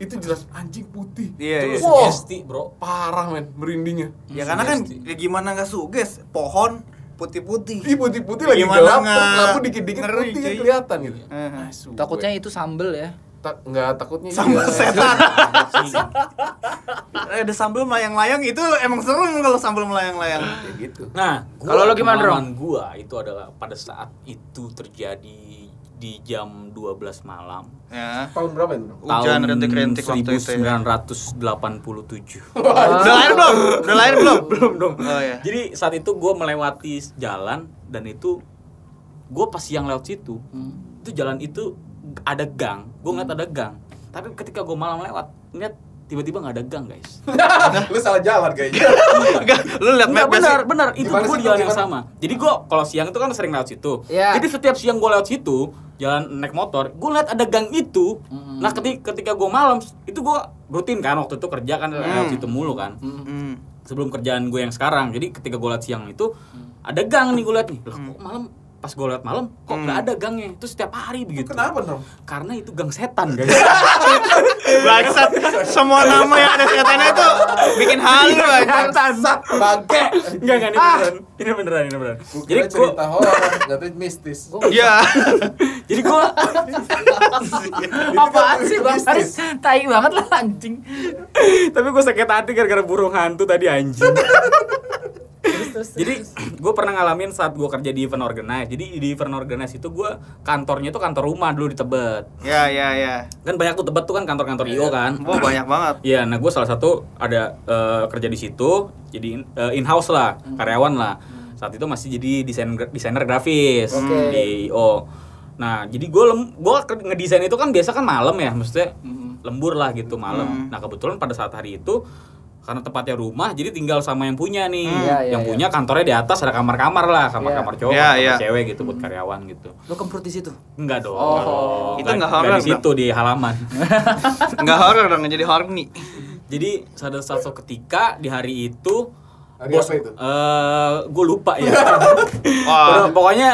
[SPEAKER 1] itu jelas anjing putih
[SPEAKER 4] Hmm. Iya,
[SPEAKER 2] Itu
[SPEAKER 4] iya.
[SPEAKER 1] Wah.
[SPEAKER 2] sugesti,
[SPEAKER 1] <laughs>
[SPEAKER 2] Bro.
[SPEAKER 1] parah men merindingnya
[SPEAKER 4] Ya karena kan
[SPEAKER 2] Sugesti.
[SPEAKER 4] ya gimana nggak suges, pohon putih-putih.
[SPEAKER 1] Ih putih-putih lagi
[SPEAKER 4] Gimana
[SPEAKER 1] gelap,
[SPEAKER 4] nggak-
[SPEAKER 1] lampu dikit-dikit
[SPEAKER 4] ngeri,
[SPEAKER 1] putihnya
[SPEAKER 4] cuy.
[SPEAKER 1] kelihatan gitu.
[SPEAKER 4] Heeh.
[SPEAKER 1] Asu,
[SPEAKER 3] Takutnya itu sambel ya.
[SPEAKER 1] Ta- nggak takutnya
[SPEAKER 4] Sambal
[SPEAKER 1] juga.
[SPEAKER 4] setan.
[SPEAKER 2] Anjing.
[SPEAKER 4] Eh, Ada sambal melayang-layang itu emang serem kalau sambal melayang-layang.
[SPEAKER 1] ya gitu
[SPEAKER 2] Nah, gua-
[SPEAKER 3] Kalau lo gimana,
[SPEAKER 2] pengalaman Gua itu adalah pada saat itu terjadi di jam 12 malam.
[SPEAKER 4] Ya.
[SPEAKER 1] tahun berapa itu
[SPEAKER 4] Hujan
[SPEAKER 2] tahun
[SPEAKER 4] rentik-rentik waktu itu ya.
[SPEAKER 2] 1987.
[SPEAKER 4] Udah lahir belum? Udah lahir belum? <laughs> Belum dong. Oh ya.
[SPEAKER 2] <laughs> Jadi saat itu gua melewati jalan dan itu gua pas siang lewat situ,
[SPEAKER 4] Hmm.
[SPEAKER 2] itu jalan itu ada gang. Gua ngeliat ada gang. Tapi ketika gua malam lewat, ngeliat tiba-tiba nggak ada gang guys.
[SPEAKER 1] lu salah jalan kayaknya
[SPEAKER 4] Enggak, lu lihat
[SPEAKER 2] Enggak
[SPEAKER 4] map nggak
[SPEAKER 2] benar,
[SPEAKER 4] sih?
[SPEAKER 2] benar. Itu
[SPEAKER 1] Gimana
[SPEAKER 2] gua
[SPEAKER 1] sih,
[SPEAKER 2] di jalan
[SPEAKER 1] Bang?
[SPEAKER 2] yang sama. Jadi gua kalau siang itu kan sering lewat situ.
[SPEAKER 3] Iya.
[SPEAKER 2] Jadi setiap siang gua lewat situ, jalan naik motor, gua lihat ada gang itu. Nah, ketika ketika gua malam itu gua rutin kan waktu itu kerja kan lewat situ mulu kan.
[SPEAKER 4] Hmm.
[SPEAKER 2] Sebelum kerjaan gue yang sekarang. Jadi ketika gua lihat siang itu ada gang nih gua lihat nih. Lah kok malam pas gue lewat malam kok nggak ada gangnya itu setiap hari begitu
[SPEAKER 4] Kenapa dong?
[SPEAKER 2] karena itu gang setan guys
[SPEAKER 4] Bangsat, semua nama yang ada setannya itu bikin halu aja.
[SPEAKER 1] Bangsat, bangke.
[SPEAKER 2] Enggak, enggak, ini beneran. Ini beneran, ini beneran.
[SPEAKER 1] Gua
[SPEAKER 2] Jadi
[SPEAKER 1] kira
[SPEAKER 2] gua
[SPEAKER 1] cerita horor, ternyata mistis.
[SPEAKER 4] Iya.
[SPEAKER 2] jadi gua
[SPEAKER 1] iya.
[SPEAKER 3] <laughs> Apaan sih Bang Iya, Haris? Tai banget lah anjing.
[SPEAKER 2] tapi gua sakit hati gara-gara burung hantu tadi anjing. jadi gua pernah ngalamin saat gua kerja di event organize. Jadi di event organize itu gua kantornya itu kantor rumah dulu di Tebet.
[SPEAKER 4] Ya, ya, ya.
[SPEAKER 2] Kan banyak tuh Tebet tuh kan kantor-kantor IO kan.
[SPEAKER 4] Wah, banyak banget.
[SPEAKER 2] Iya, nah gue salah satu ada eh, kerja di situ, jadi in- eh, in-house lah, karyawan lah. Saat itu masih jadi desain desainer grafis
[SPEAKER 3] Oke.
[SPEAKER 2] di IO. Nah, jadi gue lem, gua ke- ngedesain itu kan biasa kan malam ya, maksudnya
[SPEAKER 3] Hmm,
[SPEAKER 2] lembur lah gitu malam.
[SPEAKER 4] Hmm.
[SPEAKER 2] Nah kebetulan pada saat hari itu karena tempatnya rumah, jadi tinggal sama yang punya nih.
[SPEAKER 3] Hmm. Iya, iya,
[SPEAKER 2] yang
[SPEAKER 3] iya.
[SPEAKER 2] punya kantornya di atas ada kamar-kamar lah, kamar-kamar cowok,
[SPEAKER 4] Iya,
[SPEAKER 2] kamar
[SPEAKER 4] iya.
[SPEAKER 2] cewek gitu buat karyawan gitu.
[SPEAKER 3] Lo kemprut di situ.
[SPEAKER 2] Enggak dong.
[SPEAKER 3] Oh.
[SPEAKER 4] Itu nggak
[SPEAKER 2] nggak
[SPEAKER 4] horor,
[SPEAKER 2] di situ di halaman. <laughs>
[SPEAKER 4] Enggak horor dong, jadi horny.
[SPEAKER 2] Jadi pada satu ketika di hari itu
[SPEAKER 1] Hari
[SPEAKER 2] bos-
[SPEAKER 1] apa itu?
[SPEAKER 2] Eh, gue lupa
[SPEAKER 4] <laughs>
[SPEAKER 2] ya.
[SPEAKER 4] Wah. Ah.
[SPEAKER 2] Pokoknya- Pokoknya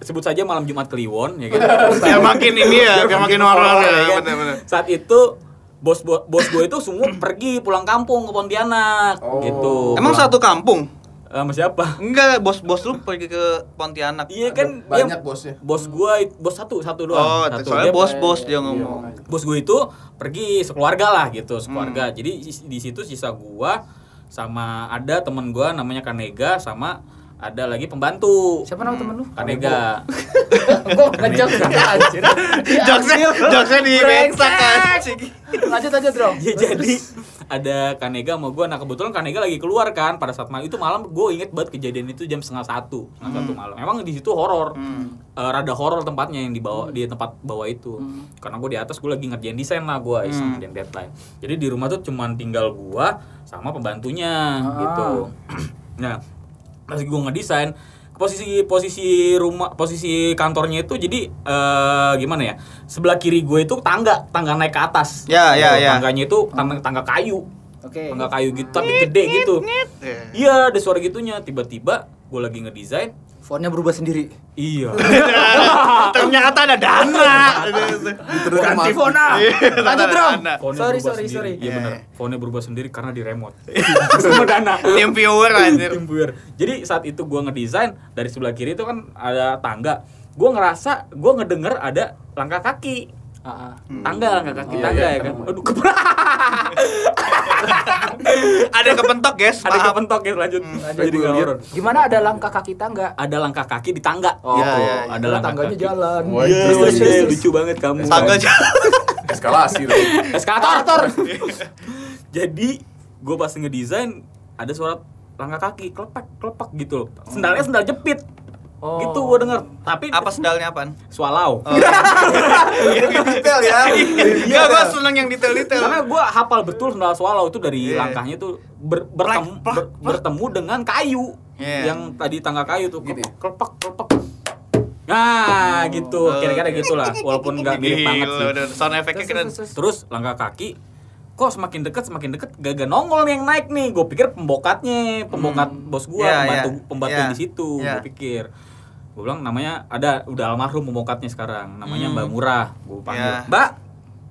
[SPEAKER 2] sebut saja malam Jumat Kliwon ya kan.
[SPEAKER 4] Biar makin ini ya, biar makin horor ya, benar-benar.
[SPEAKER 2] Saat itu bos bo- bos gue itu semua <clears throat> pergi pulang kampung ke Pontianak
[SPEAKER 1] Oh.
[SPEAKER 2] gitu.
[SPEAKER 4] Emang
[SPEAKER 2] Pulang-
[SPEAKER 4] satu kampung?
[SPEAKER 2] Eh, sama siapa?
[SPEAKER 4] Enggak, bos-bos lu pergi ke Pontianak.
[SPEAKER 2] Iya kan dia-
[SPEAKER 1] Banyak bosnya.
[SPEAKER 2] Bos gue bos satu satu doang.
[SPEAKER 4] Oh,
[SPEAKER 2] satu. Iya,
[SPEAKER 4] soalnya
[SPEAKER 2] Dia-
[SPEAKER 4] bos-bos dia ngomong.
[SPEAKER 2] bos gue itu pergi sekeluarga lah gitu sekeluarga
[SPEAKER 4] Hmm.
[SPEAKER 2] jadi is- di situ sisa gua sama ada temen gua namanya Kanega sama ada lagi pembantu
[SPEAKER 3] Siapa nama <laughs> temen lu?
[SPEAKER 2] Kanega
[SPEAKER 3] Gua ngejok <laughs> anjir. Ya,
[SPEAKER 2] Iya,
[SPEAKER 4] Jokesnya, jokesnya di
[SPEAKER 3] Brengsek.
[SPEAKER 4] brengsek anjing.
[SPEAKER 3] Lanjut lanjut, Bro.
[SPEAKER 2] ya jadi ada Kanega sama gua nah kebetulan Kanega lagi keluar kan pada saat malam itu malam gue inget banget kejadian itu jam setengah satu setengah satu malam emang di situ horor
[SPEAKER 4] Hmm.
[SPEAKER 2] Eh, rada horor tempatnya yang di bawah di tempat bawah itu karena gue di atas gue lagi ngerjain desain lah gue iseng ngerjain deadline jadi di rumah tuh cuman tinggal gua sama pembantunya gitu <clears throat> nah pas gue ngedesain posisi posisi rumah posisi kantornya itu jadi eh, gimana ya sebelah kiri gue itu tangga tangga naik ke atas
[SPEAKER 4] Ya, ya,
[SPEAKER 2] Gitu,
[SPEAKER 4] ya.
[SPEAKER 2] tangganya itu tangga, tangga kayu
[SPEAKER 3] Oke.
[SPEAKER 2] tangga kayu gitu tapi gede gitu iya ada suara gitunya tiba-tiba gue lagi ngedesain
[SPEAKER 3] Fontnya berubah sendiri.
[SPEAKER 2] iya
[SPEAKER 4] <laughs> Ternyata ada dana.
[SPEAKER 1] Ganti
[SPEAKER 4] Lanjut, Bro.
[SPEAKER 2] Fontnya
[SPEAKER 3] Ah, Sorry,
[SPEAKER 2] berubah
[SPEAKER 3] sorry,
[SPEAKER 2] sendiri.
[SPEAKER 3] sorry.
[SPEAKER 2] iya
[SPEAKER 4] Iya.
[SPEAKER 2] benar fontnya berubah sendiri karena di remote sama dana
[SPEAKER 4] Tim viewer anjir.
[SPEAKER 2] Tim buyer. Jadi saat itu gua ngedesain dari sebelah kiri itu kan ada tangga. Gua ngerasa gua ngedenger ada langkah kaki. Hmm.
[SPEAKER 3] Heeh.
[SPEAKER 2] Tangga, langkah kaki
[SPEAKER 1] Iya,
[SPEAKER 2] tangga
[SPEAKER 1] iya,
[SPEAKER 2] ya kan.
[SPEAKER 1] ketemu.
[SPEAKER 2] Aduh, keberat.
[SPEAKER 4] Ada kepentok, guys.
[SPEAKER 2] <laughs> Ada
[SPEAKER 4] Maaf.
[SPEAKER 2] kepentok ya lanjut.
[SPEAKER 1] lanjut.
[SPEAKER 2] Jadi nggak horor.
[SPEAKER 3] Gimana ada langkah kaki tangga?
[SPEAKER 2] Ada langkah kaki di tangga.
[SPEAKER 1] Oh,
[SPEAKER 4] Iya, iya, iya.
[SPEAKER 2] ada
[SPEAKER 3] Kira
[SPEAKER 2] langkah
[SPEAKER 3] tangganya
[SPEAKER 2] kaki.
[SPEAKER 3] jalan.
[SPEAKER 1] Wah,
[SPEAKER 2] Iya,
[SPEAKER 1] Terus, terus,
[SPEAKER 2] iya,
[SPEAKER 1] terus,
[SPEAKER 2] lucu banget kamu.
[SPEAKER 4] Tangga jalan.
[SPEAKER 1] Eskalasi tuh.
[SPEAKER 2] Eskalator. <laughs> Jadi gua pas ngedesain ada suara langkah kaki kelepak kelepak gitu loh.
[SPEAKER 4] Oh.
[SPEAKER 2] Sendalnya sendal jepit.
[SPEAKER 3] Oh.
[SPEAKER 2] Gitu gua denger. Tapi
[SPEAKER 4] Apa Oh. sendalnya apaan?
[SPEAKER 2] Swallow.
[SPEAKER 1] Iya. Detail ya.
[SPEAKER 4] Iya, gua seneng yang detail-detail.
[SPEAKER 2] karena gue hafal betul sendal swallow itu dari
[SPEAKER 4] Gitu. Iya.
[SPEAKER 2] langkahnya tuh ber- bertem-
[SPEAKER 4] Plak, plak,
[SPEAKER 2] ber- bertemu dengan kayu
[SPEAKER 4] Iya. Gitu ya?
[SPEAKER 2] yang tadi tangga kayu tuh
[SPEAKER 1] Gini.
[SPEAKER 2] kelepek kelepek kelepek. nah gitu kira-kira
[SPEAKER 4] <laughs>
[SPEAKER 2] gitulah walaupun nggak mirip banget
[SPEAKER 4] Oh. Gila,
[SPEAKER 2] sih
[SPEAKER 4] udah, Sound efeknya keren.
[SPEAKER 2] terus langkah kaki kok semakin dekat semakin dekat gak nongol nih yang naik nih gue pikir pembokatnya pembokat bos gue
[SPEAKER 4] Iya,
[SPEAKER 2] pembantu
[SPEAKER 4] iya.
[SPEAKER 2] pembantu
[SPEAKER 4] Iya.
[SPEAKER 2] di situ
[SPEAKER 4] Iya.
[SPEAKER 2] gue pikir gue bilang namanya ada udah almarhum pembokatnya sekarang namanya
[SPEAKER 4] Hmm.
[SPEAKER 2] Mbak Murah gue panggil
[SPEAKER 4] Iya. Hmm.
[SPEAKER 2] Mbak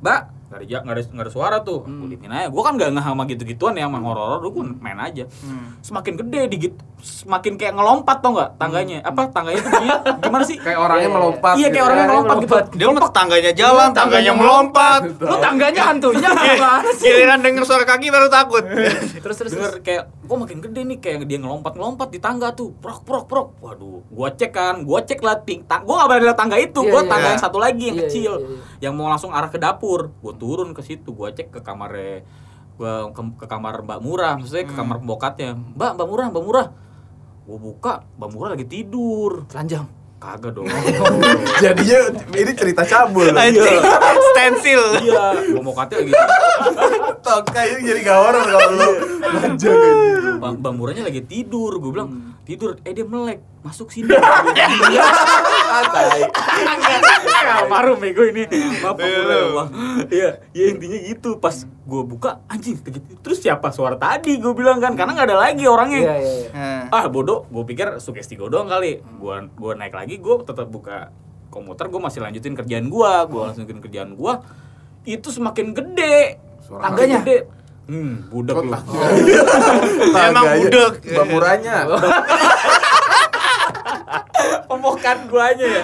[SPEAKER 2] Mbak nggak ada, ja- nggak ada, nggak ada suara tuh gue diemin aja gue kan nggak nggak sama gitu-gituan ya sama horor gue main aja
[SPEAKER 4] Hmm.
[SPEAKER 2] semakin gede digit semakin kayak ngelompat tau nggak tangganya
[SPEAKER 4] Hmm.
[SPEAKER 2] apa tangganya tuh bunyinya gimana sih
[SPEAKER 1] Kayak orangnya
[SPEAKER 3] Iya,
[SPEAKER 1] melompat.
[SPEAKER 2] iya kayak
[SPEAKER 4] kan.
[SPEAKER 2] orangnya
[SPEAKER 4] ya.
[SPEAKER 2] melompat gitu
[SPEAKER 4] Dia mah tangganya jalan, tangganya melompat.
[SPEAKER 2] lu tangganya hantunya
[SPEAKER 4] <laughs>
[SPEAKER 2] gimana sih
[SPEAKER 4] Giliran denger suara kaki baru takut.
[SPEAKER 1] Iya.
[SPEAKER 4] <laughs>
[SPEAKER 3] Ya, Terus terus.
[SPEAKER 2] denger kayak gua makin gede nih kayak dia ngelompat ngelompat di tangga tuh prok prok prok waduh gua cek kan gua cek lah ting tang gua nggak berani lihat tangga itu
[SPEAKER 3] Iya,
[SPEAKER 2] gua
[SPEAKER 3] iya,
[SPEAKER 2] tangga
[SPEAKER 4] iya.
[SPEAKER 2] yang satu lagi yang
[SPEAKER 3] Iya,
[SPEAKER 2] kecil
[SPEAKER 3] iya, iya.
[SPEAKER 2] yang mau langsung arah ke dapur gua turun ke situ gua cek ke kamarnya gua ke, ke kamar Mbak Murah maksudnya
[SPEAKER 3] Hmm.
[SPEAKER 2] ke kamar pembokatnya Mbak Mbak Murah Mbak Murah gua buka Mbak Murah lagi tidur
[SPEAKER 3] telanjang.
[SPEAKER 2] kagak
[SPEAKER 3] <laughs>
[SPEAKER 2] dong
[SPEAKER 1] Jadinya ini cerita cabul.
[SPEAKER 4] Iya.
[SPEAKER 1] Iya.
[SPEAKER 4] Anjing. Stensil.
[SPEAKER 2] iya pembokatnya lagi
[SPEAKER 1] TikTok kayak jadi gak horor kalau lu manja gitu.
[SPEAKER 2] Bang, bang Muranya lagi tidur, gue bilang
[SPEAKER 3] Hmm.
[SPEAKER 2] tidur, eh dia melek, masuk sini. <laughs> Iya,
[SPEAKER 1] Ah, tai.
[SPEAKER 2] maru bego ini. Maaf Bang Mura ya, Bang. Iya, ya intinya gitu. Pas gue buka, anjing, begitu. terus siapa suara tadi? Gue bilang kan, karena nggak ada lagi orangnya.
[SPEAKER 3] Iya, iya, iya.
[SPEAKER 4] Hmm.
[SPEAKER 5] Nah,
[SPEAKER 2] ah bodoh gue pikir sugesti gue doang kali gue gua naik lagi gue tetap buka komputer gue masih lanjutin kerjaan gue gue lanjutin kerjaan gue itu semakin gede
[SPEAKER 1] Suara
[SPEAKER 2] tangganya
[SPEAKER 3] apa?
[SPEAKER 2] gede hmm budak lu
[SPEAKER 1] <laughs> Tangga
[SPEAKER 4] Emang
[SPEAKER 1] aja.
[SPEAKER 4] budek.
[SPEAKER 1] Bamuranya.
[SPEAKER 2] pemokan guanya ya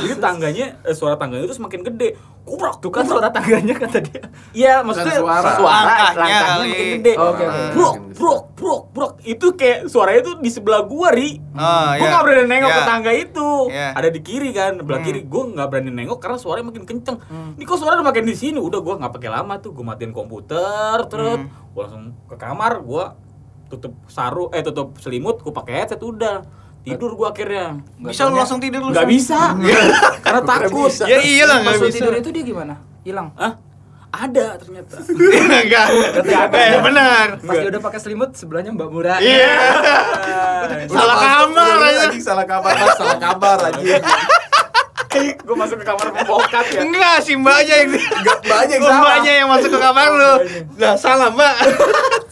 [SPEAKER 2] jadi tangganya eh, suara tangganya itu semakin gede kubrak tuh kan suara
[SPEAKER 3] tangganya kata dia.
[SPEAKER 2] iya maksudnya
[SPEAKER 1] Bukan suara.
[SPEAKER 2] langkahnya,
[SPEAKER 4] Langkahnya kali.
[SPEAKER 2] makin gede
[SPEAKER 3] Oke, oke.
[SPEAKER 2] brok brok brok brok itu kayak suaranya itu di sebelah gua ri
[SPEAKER 4] Ah,
[SPEAKER 2] gue
[SPEAKER 4] iya.
[SPEAKER 2] nggak berani nengok ke
[SPEAKER 4] Iya.
[SPEAKER 2] tangga itu
[SPEAKER 4] Iya.
[SPEAKER 2] ada di kiri kan belah
[SPEAKER 4] Hmm.
[SPEAKER 2] kiri gue nggak berani nengok karena suaranya makin kenceng ini kok suara udah makin di sini udah gue nggak pakai lama tuh gue matiin komputer terus
[SPEAKER 4] Hmm.
[SPEAKER 2] gue langsung ke kamar gue tutup saru eh tutup selimut gue pakai headset udah tidur gue akhirnya
[SPEAKER 4] Bisa lu langsung tidur lu.
[SPEAKER 2] nggak
[SPEAKER 4] langsung. <laughs>
[SPEAKER 2] bisa karena takut
[SPEAKER 4] Ya iyalah
[SPEAKER 3] Pas
[SPEAKER 4] nggak
[SPEAKER 3] lu
[SPEAKER 4] bisa.
[SPEAKER 3] tidur
[SPEAKER 4] <laughs>
[SPEAKER 3] itu dia gimana? Hilang.
[SPEAKER 2] ah ada ternyata
[SPEAKER 4] Enggak. Eh,
[SPEAKER 1] ya.
[SPEAKER 4] benar.
[SPEAKER 3] Pas dia udah pakai selimut sebelahnya Mbak Mura.
[SPEAKER 4] Iya. Salah ya.
[SPEAKER 1] masuk,
[SPEAKER 4] kamar
[SPEAKER 1] udah
[SPEAKER 4] aja.
[SPEAKER 1] anjing, salah kamar, Mas. salah kabar aja.
[SPEAKER 2] gue masuk ke kamar pembokat
[SPEAKER 4] <laughs>
[SPEAKER 2] ya
[SPEAKER 4] Enggak, si mbaknya yang Oh,
[SPEAKER 1] Banyak yang salah.
[SPEAKER 4] mbaknya yang masuk ke kamar lu. Lah salah, Mbak.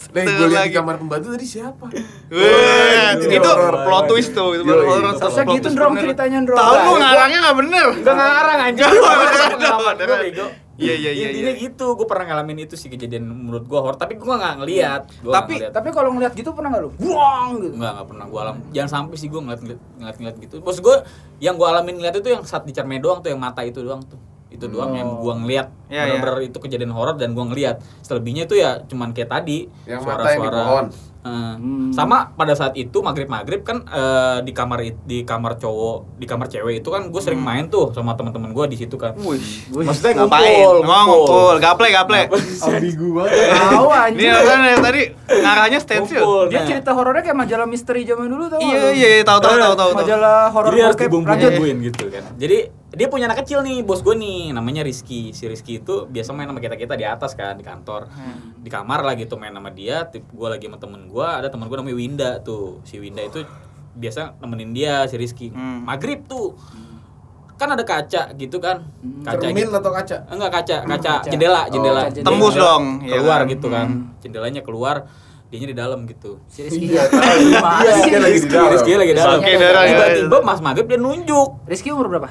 [SPEAKER 1] Nih, gue lihat di
[SPEAKER 4] Lagi.
[SPEAKER 1] kamar pembantu tadi siapa?
[SPEAKER 4] Weh,
[SPEAKER 2] Itu
[SPEAKER 4] itu
[SPEAKER 2] horor
[SPEAKER 4] plot
[SPEAKER 2] banget.
[SPEAKER 4] twist tuh, itu
[SPEAKER 1] Yoi.
[SPEAKER 4] baru horor.
[SPEAKER 3] Terusnya
[SPEAKER 4] Plot
[SPEAKER 3] gitu
[SPEAKER 4] twist
[SPEAKER 3] ndrong
[SPEAKER 4] bener.
[SPEAKER 3] ceritanya ndrong.
[SPEAKER 4] Tahu lu
[SPEAKER 3] Nah,
[SPEAKER 4] ngarangnya nggak bener.
[SPEAKER 2] Gak ngarang anjing.
[SPEAKER 4] Nggak ngarang.
[SPEAKER 2] Pengalaman gua, bego.
[SPEAKER 4] Iya, iya, iya,
[SPEAKER 2] Intinya
[SPEAKER 4] iya.
[SPEAKER 2] gitu, gue pernah ngalamin itu sih kejadian menurut gue horor, tapi gue nggak ngelihat. Gua
[SPEAKER 4] Iya. Tapi-
[SPEAKER 2] nggak ngeliat.
[SPEAKER 3] Tapi kalau ngeliat gitu pernah nggak lu? Buang gitu.
[SPEAKER 2] nggak nggak pernah gue alam. Jangan sampai sih gue ngeliat ngeliat ngeliat, ngeliat gitu. Bos gue yang gue alamin ngeliat itu yang saat di cermin doang tuh, yang mata itu doang tuh. Itu doang yang gue ngeliat.
[SPEAKER 4] Iya,
[SPEAKER 2] Bener-bener itu kejadian horor dan gue ngeliat. Selebihnya itu ya cuman kayak tadi
[SPEAKER 1] Yang mata yang di
[SPEAKER 2] suara-suara.
[SPEAKER 1] pohon.
[SPEAKER 2] Eh,
[SPEAKER 3] Hmm.
[SPEAKER 2] sama pada saat itu maghrib maghrib kan eh, di kamar it- di kamar cowok di kamar cewek itu kan gue sering main tuh sama teman-teman gue di situ kan
[SPEAKER 4] Hmm. Wih.
[SPEAKER 2] Maksudnya
[SPEAKER 4] Ngapain?
[SPEAKER 2] ngumpul,
[SPEAKER 4] Ngomong ngumpul, gaple gaple.
[SPEAKER 1] Ambigu
[SPEAKER 3] Tahu
[SPEAKER 4] Ini
[SPEAKER 3] anjing.
[SPEAKER 4] alasan dari tadi ngarahnya
[SPEAKER 2] Ngumpul.
[SPEAKER 4] stensil.
[SPEAKER 3] Dia
[SPEAKER 2] Nah.
[SPEAKER 3] cerita horornya kayak majalah misteri zaman dulu tau nggak
[SPEAKER 4] Iya
[SPEAKER 3] lu?
[SPEAKER 4] iya iya, tahu tahu tahu tahu. Iya, tahu.
[SPEAKER 3] Majalah horor
[SPEAKER 2] Jadi harus
[SPEAKER 3] bokep. Lanjut.
[SPEAKER 2] dibumbu-bumbuin gitu kan. Jadi dia punya anak kecil nih, bos gue nih, namanya Rizky. Si Rizky itu biasa main sama kita kita di atas kan di kantor, di kamar lah gitu main sama dia. Tip gue lagi sama temen gue, ada temen gue namanya Winda tuh. Si Winda itu biasa nemenin dia si Rizky.
[SPEAKER 4] Hmm.
[SPEAKER 2] Maghrib tuh kan ada kaca gitu kan, kaca
[SPEAKER 1] Cermin
[SPEAKER 2] gitu.
[SPEAKER 1] atau kaca? <laughs>
[SPEAKER 2] Enggak kaca, kaca,
[SPEAKER 3] Kaca.
[SPEAKER 1] Oh,
[SPEAKER 2] jendela, jendela.
[SPEAKER 3] kaca
[SPEAKER 4] Tembus
[SPEAKER 2] Jendela
[SPEAKER 4] dong, iya
[SPEAKER 2] Keluar
[SPEAKER 4] kan?
[SPEAKER 2] gitu kan. Jendelanya keluar, dianya di dalam gitu.
[SPEAKER 3] Si Rizky.
[SPEAKER 1] Iya, tahu. Iya,
[SPEAKER 3] Gimana sih?
[SPEAKER 1] dia lagi di dalam.
[SPEAKER 2] Rizky lagi di dalam.
[SPEAKER 4] Oke, Dara, ya.
[SPEAKER 2] Tiba-tiba Mas Maghrib dia nunjuk.
[SPEAKER 3] Rizky umur berapa?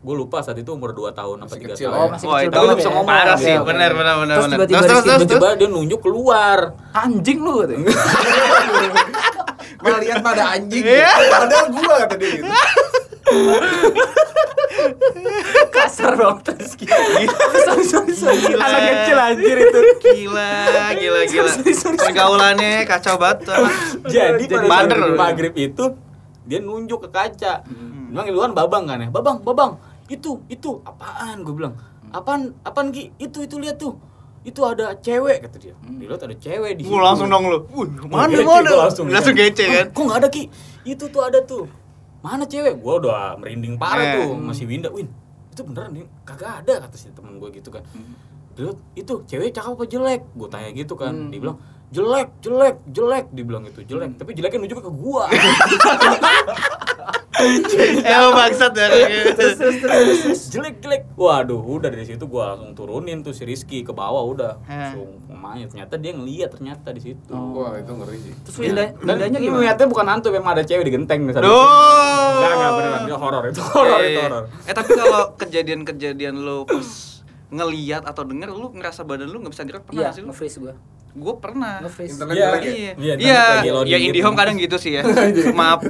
[SPEAKER 2] Gue lupa saat itu umur 2 tahun apa
[SPEAKER 1] Masih
[SPEAKER 2] 3
[SPEAKER 1] kecil
[SPEAKER 2] tahun.
[SPEAKER 1] lah ya.
[SPEAKER 3] masih
[SPEAKER 4] Wah,
[SPEAKER 3] kecil
[SPEAKER 4] itu
[SPEAKER 3] banget
[SPEAKER 2] bisa
[SPEAKER 3] ya.
[SPEAKER 2] ngomong.
[SPEAKER 4] Parah
[SPEAKER 3] Oke,
[SPEAKER 4] sih,
[SPEAKER 3] oke.
[SPEAKER 4] benar benar benar.
[SPEAKER 3] Terus
[SPEAKER 4] benar.
[SPEAKER 3] tiba-tiba
[SPEAKER 4] terus
[SPEAKER 3] Rizky
[SPEAKER 4] terus terus.
[SPEAKER 2] Tiba-tiba dia nunjuk keluar.
[SPEAKER 3] Anjing lu
[SPEAKER 4] <laughs>
[SPEAKER 3] gitu. katanya.
[SPEAKER 1] Malah lihat pada anjing.
[SPEAKER 4] Iya.
[SPEAKER 1] Padahal gua kata dia gitu.
[SPEAKER 3] Kasar banget Rizky. Sorry, sorry, sorry.
[SPEAKER 4] Gila.
[SPEAKER 3] Anak kecil anjir itu.
[SPEAKER 4] Gila,
[SPEAKER 3] <laughs>
[SPEAKER 4] gila, gila. Pergaulannya kacau banget. orang.
[SPEAKER 2] Jadi pada saat
[SPEAKER 4] Bander.
[SPEAKER 2] Maghrib itu dia nunjuk ke kaca.
[SPEAKER 1] Hmm.
[SPEAKER 2] Bilang Iluan babang kan ya. Babang, babang. Itu, itu apaan gue bilang.
[SPEAKER 1] Hmm.
[SPEAKER 2] Apaan, apaan Ki? Itu, itu lihat tuh. Itu ada cewek kata dia.
[SPEAKER 1] Hmm.
[SPEAKER 2] Dilihat ada cewek di situ.
[SPEAKER 4] Wuh, langsung dong lu. Wuh, mana
[SPEAKER 2] Gece,
[SPEAKER 4] mana?
[SPEAKER 2] gua
[SPEAKER 4] Langsung, gece
[SPEAKER 2] "Ah, <laughs>
[SPEAKER 4] kan.
[SPEAKER 2] Kok nggak ada ki? Itu tuh ada tuh. Mana cewek? Gua udah merinding parah
[SPEAKER 3] Iya.
[SPEAKER 4] Eh.
[SPEAKER 2] tuh
[SPEAKER 3] Hmm.
[SPEAKER 2] masih Winda. Win, itu beneran nih? Kagak ada kata si teman gue gitu kan.
[SPEAKER 3] Hmm.
[SPEAKER 2] Dilihat itu cewek cakep apa jelek? Gue tanya gitu kan.
[SPEAKER 3] Hmm.
[SPEAKER 2] Dibilang jelek, jelek, jelek. Dibilang itu jelek. Tapi jeleknya nunjuk ke
[SPEAKER 3] <laughs>
[SPEAKER 2] gua.
[SPEAKER 4] Eh, lu bangsat ya.
[SPEAKER 2] jelek, jelek. Waduh, udah dari situ gua langsung turunin tuh si Rizky ke bawah udah.
[SPEAKER 4] Eh.
[SPEAKER 2] Langsung main. Ternyata dia ngeliat ternyata di situ. Iya.
[SPEAKER 1] Wah, itu ngeri sih.
[SPEAKER 3] Terus Oh. Winda-
[SPEAKER 4] Iya.
[SPEAKER 2] Dan
[SPEAKER 3] Windanya
[SPEAKER 2] ini
[SPEAKER 3] gimana?
[SPEAKER 2] ngeliatnya bukan hantu, memang ada cewek di genteng misalnya.
[SPEAKER 4] Duh.
[SPEAKER 2] Enggak, enggak beneran dia horor itu horor itu horor.
[SPEAKER 4] Eh, tapi kalau kejadian-kejadian lu pas ngeliat atau denger lu ngerasa badan lu nggak bisa gerak
[SPEAKER 3] Iya,
[SPEAKER 4] pernah nggak sih lu?
[SPEAKER 3] nge-freeze gua.
[SPEAKER 4] Gue pernah.
[SPEAKER 3] Nge-freeze.
[SPEAKER 1] Internet
[SPEAKER 2] Iya.
[SPEAKER 1] lagi.
[SPEAKER 4] Iya,
[SPEAKER 2] Iya,
[SPEAKER 4] iya,
[SPEAKER 2] nanti lagi loading
[SPEAKER 4] ya
[SPEAKER 2] gitu. Iya.
[SPEAKER 4] IndiHome kadang gitu sih
[SPEAKER 2] <laughs>
[SPEAKER 4] ya. Maaf.